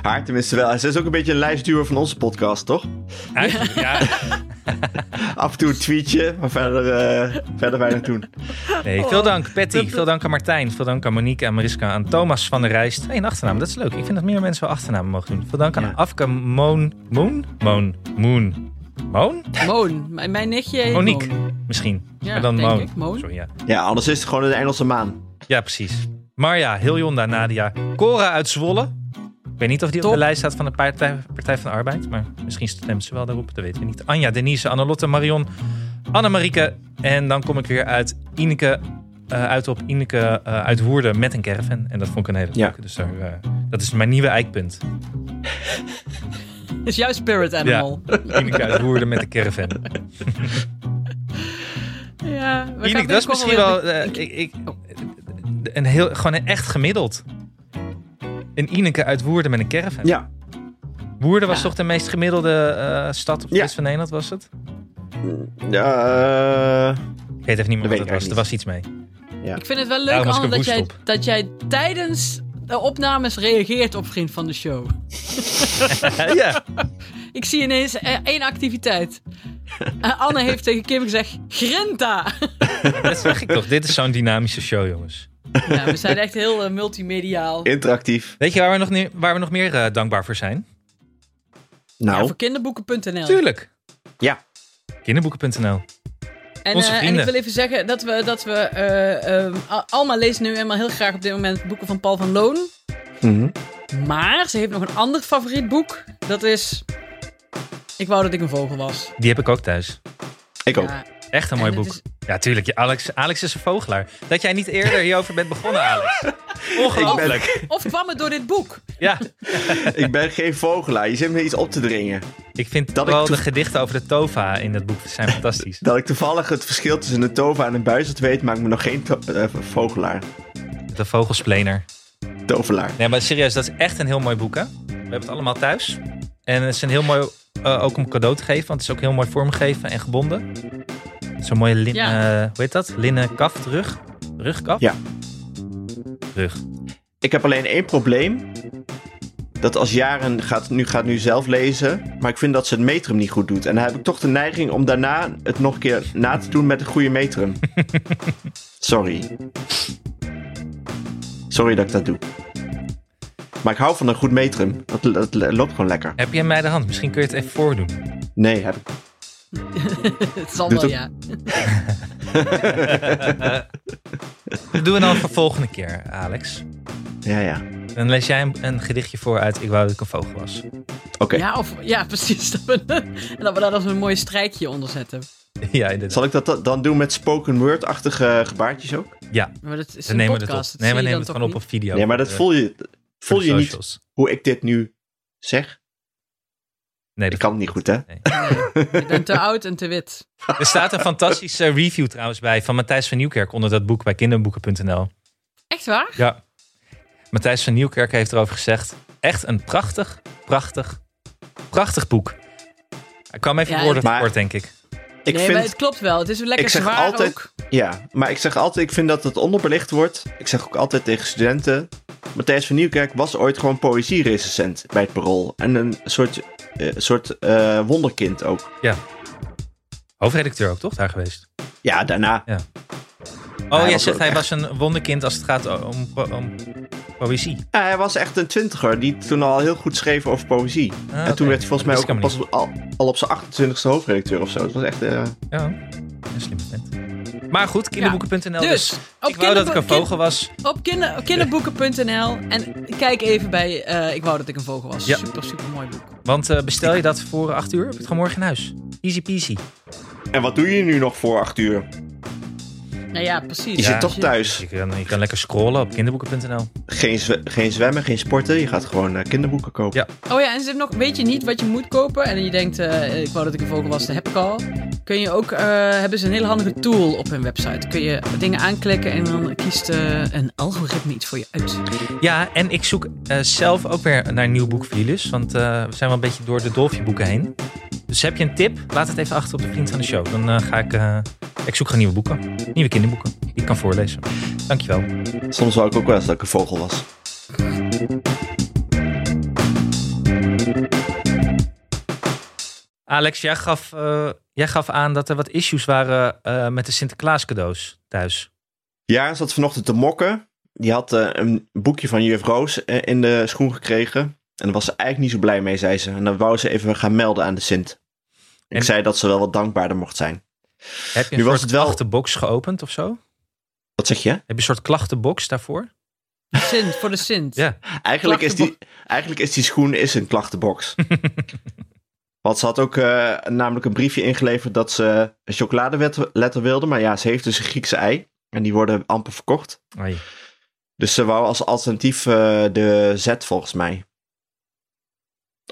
Haar tenminste wel. Ze is ook een beetje een lijstduwer van onze podcast, toch?
Eigenlijk, ja.
Af en toe een tweetje, maar verder, eh, verder weinig doen.
Nee,
Oh.
veel dank Patty, veel dank aan Martijn, veel dank aan Monique, aan Mariska, aan Thomas van der Rijst. Hey, een achternaam, dat is leuk. Ik vind dat meer mensen wel achternamen mogen doen. Veel dank aan
Ja.
Afka Moon, Moon, Moon, Moon, Moon?
Moon, mijn, mijn nichtje heet
Monique,
Moon.
misschien.
Ja,
maar dan
denk
Moon.
ik, Moon.
Sorry, ja.
Ja, anders is het gewoon een Engelse maan.
ja, precies. Marja, Hiljonda, Nadia, Cora uit Zwolle. Ik weet niet of die op
Top.
de lijst staat van de Partij, Partij van de Arbeid, maar misschien stemt ze wel daarop, dat weten we niet. Anja, Denise, Annelotte, Marion, Annemarieke. En dan kom ik weer uit Ineke, eh, uit op Ineke eh, uit Woerden met een caravan. En dat vond ik een hele
Ja.
leuke, dus daar, eh, dat is mijn nieuwe eikpunt.
Is jouw spirit animal. Ja,
Ineke uit Woerden met een caravan.
we gaan
Ineke, dat is
binnenkort
misschien
weer-
wel eh, ik, ik, een heel, gewoon een echt gemiddeld. Een Ineke uit Woerden met een caravan.
Ja.
Woerden was
Ja.
toch de meest gemiddelde eh, stad op de
Ja.
rest van Nederland, was het?
Ja, eh,
Ik weet even niet meer
Dat
wat het
weet
was.
ik
Er was iets mee.
Ik vind het wel leuk,
Daarom was ik
Anne,
er
dat jij,
woest
dat jij tijdens de opnames reageert op vriend van de show.
ja.
Ik zie ineens eh, één activiteit. Eh, Anne heeft tegen Kim gezegd, Grinta!
Dat zeg ik toch. Dit is zo'n dynamische show, jongens.
Ja, we zijn echt heel eh, multimediaal.
interactief.
Weet je waar we nog, ne- waar we nog meer eh, dankbaar voor zijn?
Ja,
Nou,
voor kinderboeken.nl.
Tuurlijk.
Ja.
Kinderboeken.nl.
En,
Onze
eh, en ik
vrienden.
wil even zeggen dat we, dat we eh, eh, Al- Alma leest nu eenmaal heel graag op dit moment boeken van Paul van Loon.
mhm.
Maar ze heeft nog een ander favoriet boek. Dat is Ik wou dat ik een vogel was.
Die heb ik ook thuis.
ik
Oh.
ook.
Ja,
Echt een mooi
en het
boek. Ja, tuurlijk. Je- Alex, Alex is een vogelaar. Dat jij niet eerder hierover bent begonnen, Alex. Ongelooflijk.
is- of kwam het door dit boek?
Ja.
Ik ben geen vogelaar. Je zit me iets op te dringen.
Ik vind
Dat ik
vooral
toe-
de gedichten over de tova in dat boek zijn fantastisch.
Dat ik toevallig het verschil tussen een tova en een buizerd weet, maakt me nog geen to- eh, vogelaar.
De vogelsplener.
Tovelaar.
Nee, maar serieus, dat is echt een heel mooi boek, hè? We hebben het allemaal thuis. En het is een heel mooi, eh, ook om cadeau te geven, want het is ook heel mooi vormgeven en gebonden. Zo'n mooie linnen,
Ja.
hoe heet dat? Linnen kaft, rug? Rugkaf?
Ja.
Rug.
Ik heb alleen één probleem. Dat als Jaren gaat, nu gaat nu zelf lezen. Maar ik vind dat ze het metrum niet goed doet. En dan heb ik toch de neiging om daarna het nog een keer na te doen met een goede metrum. Sorry. Sorry dat ik dat doe. Maar ik hou van een goed metrum. Dat, dat loopt gewoon lekker.
Heb je hem bij de hand? Misschien kun je het even voordoen.
Nee, heb ik.
het zal
Doet
wel,
ook-
ja.
Dat doen we dan voor volgende keer, Alex.
Ja, ja.
Dan lees jij een, een gedichtje voor uit Ik wou dat ik een vogel was.
Oké.
Ja, of, ja precies. Dat we, en dat we daar dan zo'n mooi strijkje onder zetten.
ja, inderdaad.
Zal ik dat da- dan doen met spoken word-achtige gebaartjes ook?
Ja,
Maar dat is
we
een
nemen het
podcast.
op. Nee, we
zie je
nemen het
dan
gewoon op
toch
op video.
nee, maar dat
Eh,
voel je,
voor
voel
de
je niet
socials.
hoe ik dit nu zeg.
Nee,
Ik
dat
kan het niet goed, hè?
niet. Je bent te oud en te wit.
Er staat een fantastische review trouwens bij van Matthijs van Nieuwkerk onder dat boek bij kinderboeken.nl.
Echt waar?
Ja. Matthijs van Nieuwkerk heeft erover gezegd. Echt een prachtig, prachtig, prachtig boek. Hij kwam even
Ja,
woorden
maar-
tekort, denk ik.
Ik
nee,
vind,
maar het klopt wel. Het is lekker
ik zeg
zwaar
altijd,
ook.
ja, maar ik zeg altijd, ik vind dat het onderbelicht wordt. Ik zeg ook altijd tegen studenten, Matthijs van Nieuwkerk was ooit gewoon poëzie-recensent bij het Parool. En een soort, eh, soort eh, wonderkind ook.
Hoofdredacteur ook, toch? Daar geweest.
Ja, daarna.
Oh, jij
was
zegt
ook
hij
echt-
was een wonderkind als het gaat om, po- om poëzie.
Ja, hij was echt een twintiger die toen al heel goed schreef over poëzie.
Ah,
en toen
oké.
werd hij volgens
Dat
mij
wist
ook
ik
pas op- al, al op zijn 28e hoofdredacteur of zo. Het was echt... eh,
helemaal niet. Ja, een slimme vent. Maar goed, kinderboeken.nl
Ja.
dus.
Dus, op
Ik wou dat ik een
kinderboek-
vogel was.
Op kinder, kinderboeken.nl. En kijk even bij eh, Ik wou dat ik een vogel was.
Ja.
Super, super mooi boek.
Want eh, bestel je dat voor 8 uur, heb je het gewoon morgen in huis. Easy peasy.
En wat doe je nu nog voor acht uur?
Nou ja, precies.
Je
Ja.
zit toch thuis.
Je kan, je kan lekker scrollen op kinderboeken.nl.
Geen, zwe- geen zwemmen, geen sporten. Je gaat gewoon eh, kinderboeken kopen.
Ja.
Oh ja, en ze hebben nog, weet je niet wat je moet kopen? En je denkt, eh, ik wou dat ik een vogel was, dat heb ik al. Kun je ook, eh, hebben ze een hele handige tool op hun website. Kun je dingen aanklikken en dan kiest eh, een algoritme iets voor je uit.
Ja, en ik zoek eh, zelf ook weer naar een nieuw boek voor jullie. dus, Want eh, we zijn wel een beetje door de Dolfje boeken heen. Dus heb je een tip? Laat het even achter op de vriend van de show. Dan eh, ga ik... eh, ik zoek gewoon nieuwe boeken. Nieuwe kinderboeken. Die ik kan voorlezen. Dankjewel.
Soms wou ik ook wel eens dat ik een vogel was.
Alex, jij gaf, eh, jij gaf aan dat er wat issues waren eh, met de Sinterklaas cadeaus thuis.
Ja, zat vanochtend te mokken. Die had eh, een boekje van juf Roos eh, in de schoen gekregen. En daar was ze eigenlijk niet zo blij mee, zei ze. En dan wou ze even gaan melden aan de Sint. Ik
En-
zei dat ze wel wat dankbaarder mocht zijn.
Heb je
Nu
een
was
soort
het wel-
klachtenbox geopend of zo? Heb
Wat zeg je?
je een soort klachtenbox daarvoor?
Sint, voor de Sint.
Ja.
Eigenlijk is, die, eigenlijk is die schoen is een klachtenbox. Want ze had ook eh, namelijk een briefje ingeleverd dat ze een chocoladeletter wilde. Maar ja, ze heeft dus een Griekse ei. En die worden amper verkocht.
Ai.
Dus ze wou als alternatief eh, de Z volgens mij.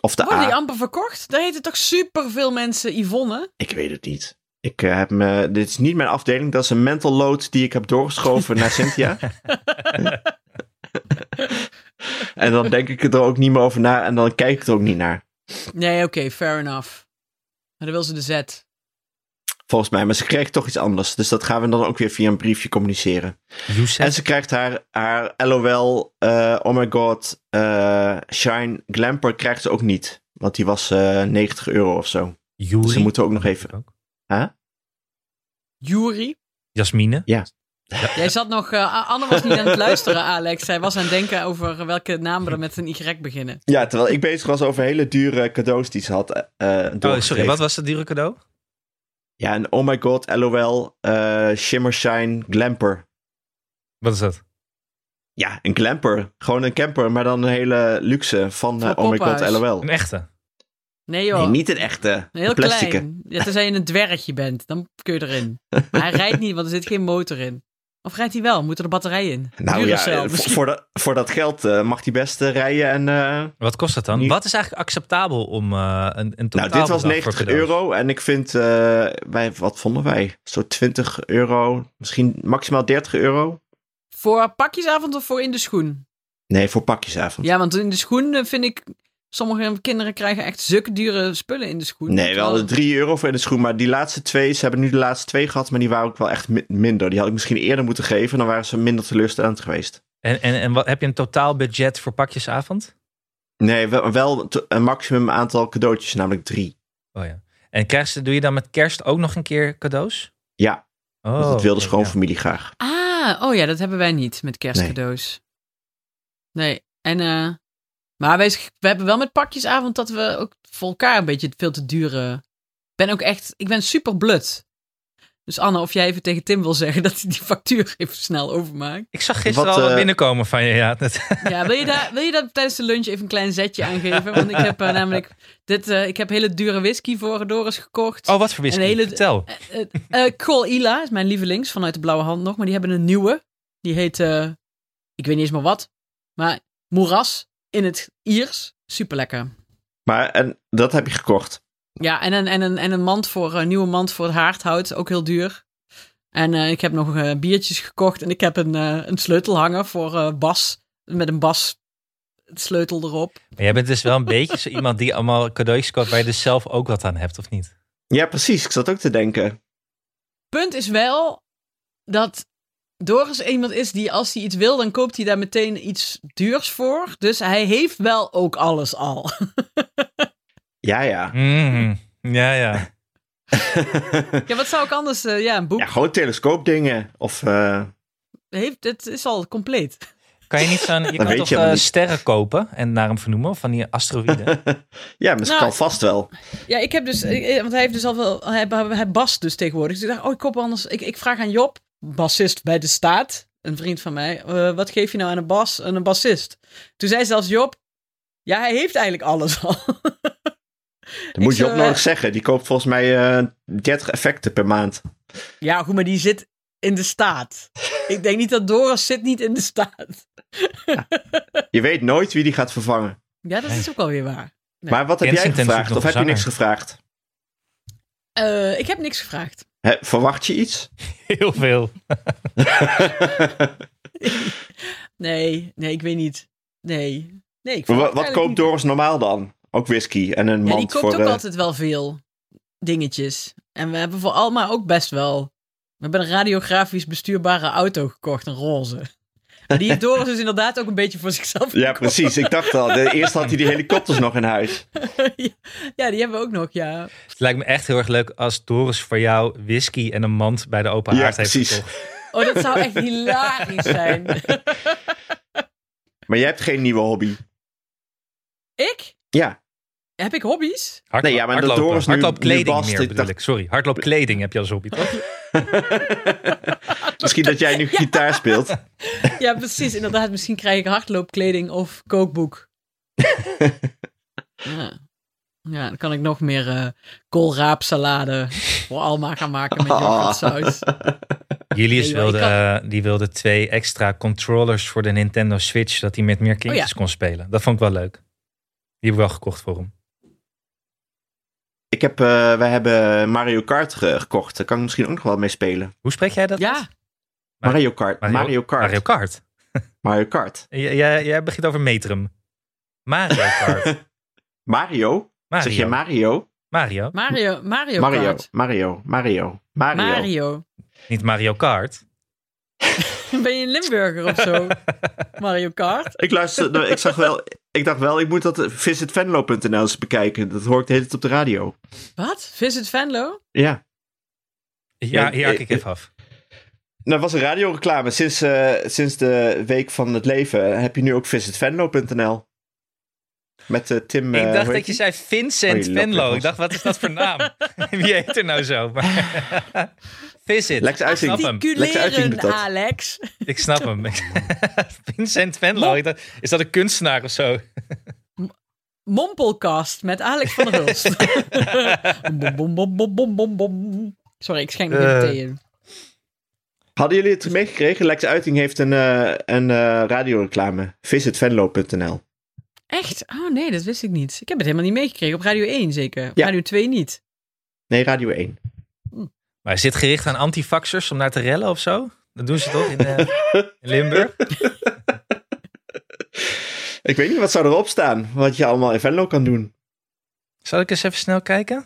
Of de
Worden
A.
die amper verkocht? Daar heten toch superveel mensen Yvonne?
Ik weet het niet. Ik eh, heb me, dit is niet mijn afdeling. Dat is een mental load die ik heb doorgeschoven naar Cynthia. en dan denk ik er ook niet meer over na. En dan kijk ik er ook niet naar.
Nee, oké, fair enough. Maar dan wil ze de Z.
Volgens mij. Maar ze krijgt toch iets anders. Dus dat gaan we dan ook weer via een briefje communiceren.
Youssef.
En ze krijgt haar, haar LOL, eh, oh my god, eh, Shine Glamper krijgt ze ook niet. Want die was eh 90 euro of zo.
Yuri.
Ze moeten ook nog even-
Ook.
Jury.
Jasmine.
Jij zat nog... eh, Anne was niet aan het luisteren, Alex. Zij was aan het denken over welke namen er met een Y beginnen.
Ja, terwijl ik bezig was over hele dure cadeaus die ze had eh eh,
Oh, sorry.
doorgegeven.
Wat was dat dure cadeau?
Ja, en oh my god, LOL, eh Shimmer Shine Glamper.
Wat is dat?
Ja, een glamper. Gewoon een camper, maar dan een hele luxe van eh,
Van
oh my god,
Poppenhuis.
LOL.
Een echte.
Nee joh.
Nee, niet een echte.
Een heel
een plastic.
klein. Ja, tenzij je een dwergje bent, dan kun je erin. Maar hij rijdt niet, want er zit geen motor in. Of rijdt hij wel? Moet er een batterij in?
Nou ja,
Duracell
eh, voor,
misschien.
voor dat, voor dat geld eh, mag hij best eh, rijden en... eh,
Wat kost dat dan?
Nu-
Wat is eigenlijk acceptabel om eh, een, een totaal
Nou, dit was
bedrag voor
90
cadeaus?
euro en ik vind, eh, wij, wat vonden wij? Zo 20 euro, misschien maximaal 30 euro?
Voor pakjesavond of voor in de schoen?
Nee, voor pakjesavond.
Ja, want in de schoen eh, vind ik... Sommige kinderen krijgen echt zulke dure spullen in de schoen.
Nee, wel
Terwijl-
de 3 euro voor in de schoen, maar die laatste twee, ze hebben nu de laatste twee gehad, maar die waren ook wel echt mi- minder. Die had ik misschien eerder moeten geven, dan waren ze minder teleurstellend geweest.
En, en, en wat, heb je een totaal budget voor pakjesavond?
Nee, wel, wel te- een maximum aantal cadeautjes, namelijk drie.
Oh ja. En kerst, doe je dan met kerst ook nog een keer cadeaus?
Ja,
Oh,
want dat wilde
oké, ja.
schoonfamilie graag.
Ah, oh ja, dat hebben wij niet met kerstcadeaus. Nee. En, eh, maar wij, we hebben wel met pakjesavond dat we ook voor elkaar een beetje veel te dure ben ook echt, ik ben super blut. Dus Anne, of jij even tegen Tim wil zeggen dat hij die factuur even snel overmaakt.
Ik zag gisteren
Wat,
al wat
eh,
binnenkomen van je. Ja, net.
Ja, wil je, daar, wil je daar tijdens de lunch even een klein zetje aan geven? Want ik heb eh, namelijk, dit, eh, ik heb hele dure whisky voor Doris gekocht.
Oh, wat voor whisky?
Een hele-
Vertel.
Eh, eh, Col Ila is mijn lievelings vanuit de blauwe hand nog, maar die hebben een nieuwe. Die heet, eh, ik weet niet eens meer wat, maar moeras in het Iers. Super lekker.
Maar en dat heb je gekocht.
Ja, en een, en een, en een mand voor, een nieuwe mand voor het haardhout, ook heel duur. En eh, ik heb nog eh, biertjes gekocht en ik heb een, eh, een sleutelhanger voor eh, Bas, met een Bas sleutel erop.
Maar jij bent dus wel een beetje zo iemand die allemaal cadeautjes koopt waar je dus zelf ook wat aan hebt, of niet?
Ja, precies. Ik zat ook te denken.
Punt is wel dat Doris iemand is die als hij iets wil, dan koopt hij daar meteen iets duurs voor. Dus hij heeft wel ook alles al.
Ja, ja.
Mm, ja, ja.
ja, wat zou ik anders? eh, ja, een boek.
ja gewoon telescoopdingen. Of eh,
Heeft, het is al compleet.
Kan je niet zo'n... Je kan
weet
toch
je
eh,
helemaal niet.
sterren kopen en naar hem vernoemen? Van die asteroïden?
ja, misschien
Nou,
kan vast wel.
Ja, ik heb dus, eh, eh, want hij heeft dus al wel, hij, hij Bas dus tegenwoordig. Dus ik dacht, oh, ik koop anders. Ik, ik vraag aan Job, bassist bij de staat, een vriend van mij, eh, wat geef je nou aan een bas, aan een bassist? Toen zei zelfs Job, ja, hij heeft eigenlijk alles al.
Dat moet
Ik
je
zou,
opnodig
eh,
zeggen. Die koopt volgens mij eh 30 effecten per maand.
ja, goed, maar die zit in de staat. Ik denk niet dat Doris zit niet in de staat.
Je weet nooit wie die gaat vervangen.
Ja, dat is ook wel weer waar. Nee.
Maar wat heb jij
Kensington
gevraagd?
zoekt
Of
nog
heb je
een
niks gevraagd?
Eh, ik heb niks gevraagd.
Hè, verwacht je iets?
Heel veel.
Nee, nee, ik weet niet. Nee, nee. Ik
Maar wa-
verwacht
wat,
eigenlijk
koopt
niet.
Doris normaal dan? Ook whisky en een
Ja, die
mand
koopt
voor...
ook
eh,
altijd wel veel dingetjes. En we hebben voor Alma ook best wel. We hebben een radiografisch bestuurbare auto gekocht, een roze. En die heeft Doris dus inderdaad ook een beetje voor zichzelf
Ja,
gekocht.
precies. Ik dacht al. De, eerst had hij die helikopters nog in huis.
ja, die hebben we ook nog, ja.
Het lijkt me echt heel erg leuk als Doris voor jou whisky en een mand bij de open
Ja,
haard heeft
precies.
gekocht.
Oh, dat zou echt hilarisch zijn.
Maar jij hebt geen nieuwe hobby.
ik?
Ja.
Heb ik hobby's?
Hardloop,
Nee, ja, maar dat
hardlopen.
Doris nu-
Hardloopkleding
nu bast,
meer
ik
bedoel
dacht-
ik. Sorry, hardloopkleding heb je als hobby toch?
Misschien dat jij nu gitaar speelt.
Ja, precies. Inderdaad, misschien krijg ik hardloopkleding of kookboek. ja. ja, dan kan ik nog meer eh koolraapsalade voor Alma gaan maken met yoghurtsaus.
Julius
Nee, joh,
wilde,
ik
eh, die wilde twee extra controllers voor de Nintendo Switch, dat hij met meer kindjes
Oh ja.
kon spelen. Dat vond ik wel leuk. Die heb ik wel gekocht voor hem.
Ik heb, eh, wij hebben Mario Kart ge- gekocht. Daar kan ik misschien ook nog wel mee spelen.
Hoe spreek jij dat?
Ja,
Mario Kart. Mario, Kart.
Mario
Mario,
Kart.
Kart.
J- jij, jij begint over Metrum. Mario Kart.
Mario?
Mario.
Zeg je Mario?
Mario.
Mario, Mario,
Mario.
Kart.
Mario. Mario. Mario.
Mario.
Niet Mario Kart.
Ben je een Limburger of zo? Mario Kart?
Ik luisterde, ik zag wel, ik dacht wel, ik moet dat eh, visitvenlo.nl eens bekijken. Dat hoor ik de hele tijd op de radio.
Wat? Visit Venlo?
Ja.
Ja,
Ja,
hier hak
eh,
ik even af.
Nou, dat was een radioreclame. Sinds, eh, sinds de Week van het Leven eh, heb je nu ook visitvenlo.nl. Met eh, Tim... eh,
ik dacht
hoe
dat
heet
je
die?
zei Vincent
Oh, je
Venlo.
laptop.
Ik dacht, wat is dat voor naam? Wie heet er nou zo? Maar- Visit.
Lex Uiting.
Ik snap hem.
Lekker uitzien
Culeren,
met dat.
Alex.
Ik snap hem. Vincent Venlo. Ik dacht, is dat een kunstenaar of zo?
Mompelcast met Alex van der Hulst. bom, bom, bom, bom, bom, bom, bom. Sorry, ik schenk nog
Eh.
even thee in.
Hadden jullie het meegekregen? Lex Uiting heeft een, eh een eh, radioreclame. Visitvenlo.nl.
Echt? Oh nee, dat wist ik niet. Ik heb het helemaal niet meegekregen. Op Radio 1 zeker. Op
Ja.
Radio 2 niet.
Nee, Radio 1.
Maar is dit gericht aan antifaxers om naar te rellen of zo? Dat doen ze toch in, eh, in Limburg?
Ik weet niet wat zou erop staan. Wat je allemaal in Venlo kan doen.
Zal ik eens even snel kijken?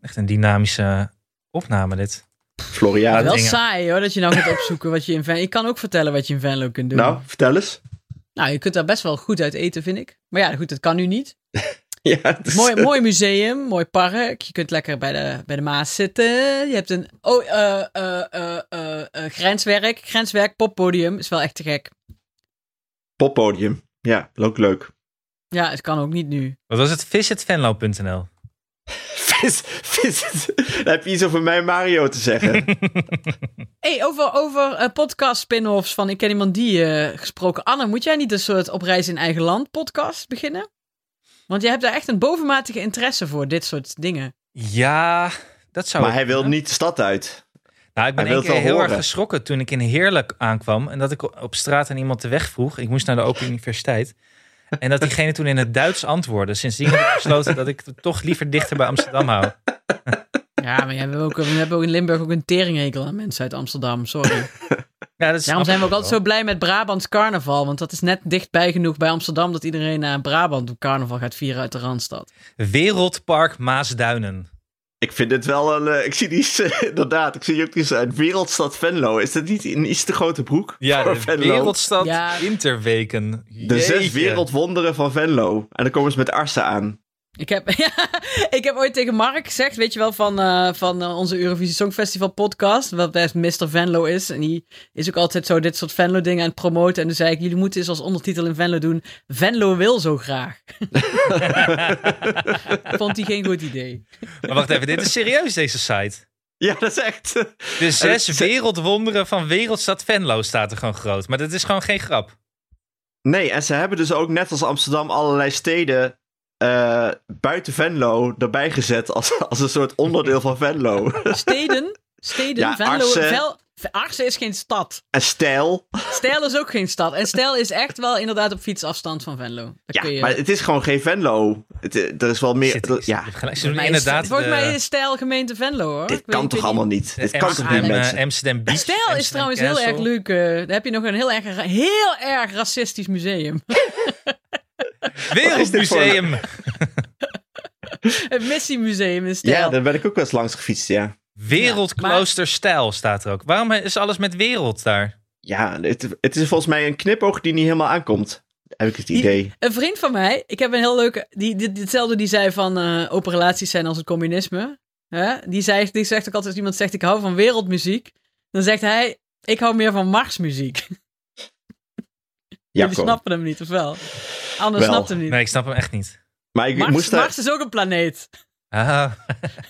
Echt een dynamische opname dit.
Floriade.
wel
dingen.
saai hoor, dat je nou gaat opzoeken wat je in Venlo... Ik kan ook vertellen wat je in Venlo kunt doen.
Nou, vertel eens.
Nou, je kunt daar best wel goed uit eten, vind ik. Maar ja, goed, dat kan nu niet.
Ja, het is-
Mooi, mooi museum, mooi park. Je kunt lekker bij de, bij de Maas zitten. Je hebt een oh, eh, eh, eh, eh, eh, grenswerk. Grenswerk, poppodium. Is wel echt te gek.
Poppodium. Ja, ook leuk.
Ja, het kan ook niet nu.
Wat was het? Visitvenlo.nl
vis, vis. Dan heb je iets over mij en Mario te zeggen.
hey, over, over eh, podcast spin-offs van Ik Ken Iemand Die eh, gesproken. Anne, moet jij niet een soort op reis in eigen land podcast beginnen? Want jij hebt daar echt een bovenmatige interesse voor, dit soort dingen.
Ja, dat zou
maar
ik
hij wil
kunnen.
niet de stad uit.
Nou, ik ben
Hij
één
wil
keer
het wel
heel erg
horen.
geschrokken toen ik in Heerlijk aankwam. En dat ik op straat aan iemand de weg vroeg. Ik moest naar de Open Universiteit. En dat diegene toen in het Duits antwoordde. Sindsdien heb ik besloten dat ik het toch liever dichter bij Amsterdam hou.
Ja, maar jij, we, hebben ook, we hebben ook in Limburg ook een teringhekel aan mensen uit Amsterdam, sorry.
Ja, dat snap
Daarom zijn
ik
we ook altijd
wel.
zo blij met Brabants carnaval. Want dat is net dichtbij genoeg bij Amsterdam dat iedereen naar Brabant carnaval gaat vieren uit de Randstad.
Wereldpark Maasduinen.
Ik vind het wel een... eh, ik zie die... inderdaad, ik zie ook die uit Wereldstad Venlo. Is dat niet een iets te grote broek
Ja,
voor
de
Venlo?
Wereldstad
Ja.
Winterweken.
De zes
Jeetje.
wereldwonderen van Venlo. En dan komen ze met Arsen aan.
Ik heb, ik heb ooit tegen Mark gezegd, weet je wel, van, eh, van eh, onze Eurovisie Songfestival podcast, wat best Mr. Venlo is. En die is ook altijd zo dit soort Venlo dingen aan het promoten. En toen zei ik, jullie moeten eens als ondertitel in Venlo doen, Venlo wil zo graag. Vond hij geen goed idee.
Maar wacht even, dit is serieus deze site.
Ja, dat is echt...
De zes
Eh, ze-
wereldwonderen van Wereldstad Venlo staat er gewoon groot. Maar dat is gewoon geen grap.
Nee, en ze hebben dus ook net als Amsterdam allerlei steden eh, buiten Venlo erbij gezet als, als een soort onderdeel van Venlo.
Steden, steden,
Ja,
Venlo,
Arsen.
Vel- Arsen is geen stad.
en stijl.
Stijl is ook geen stad. En Stijl is echt wel inderdaad op fietsafstand van Venlo. Daar
Ja,
kun je...
maar het is gewoon geen Venlo. Het, eh, er is wel meer...
Zit-
er- ja,
je hebt gelijk, Ze doen
Volgens mij is-
inderdaad eh,
Volgens mij
de,
is Stijl gemeente Venlo, hoor.
dit
Ik weet-
kan toch
ik weet niet-
allemaal niet?
de
dit kan toch niet,
Amsterdam, eh,
mensen?
Amsterdam Beach.
Stijl is
Amsterdam
trouwens heel
Castle.
erg leuk. eh, daar heb je nog een heel erg, heel erg racistisch museum.
Wereldmuseum.
Het missiemuseum in
Ja,
Stijl.
daar ben ik ook wel eens langs gefietst, ja.
Wereldklooster Stijl staat er ook. Waarom eh, is alles met wereld daar?
Ja, het, het is volgens mij een knipoog die niet helemaal aankomt. Heb ik het idee.
Een vriend van mij, ik heb een heel leuke... Die, die, die- hetzelfde die zei van eh, open relaties zijn als het communisme. Hè? Die, zei, die zegt ook altijd als iemand zegt ik hou van wereldmuziek. Dan zegt hij ik hou meer van marsmuziek.
Ja,
Jullie
kom.
snappen hem niet, of wel? Anders
Wel.
snapt hem niet.
Nee, ik snap hem echt niet.
Maar ik
Mars,
moest daar,
Mars is ook een planeet.
Ah,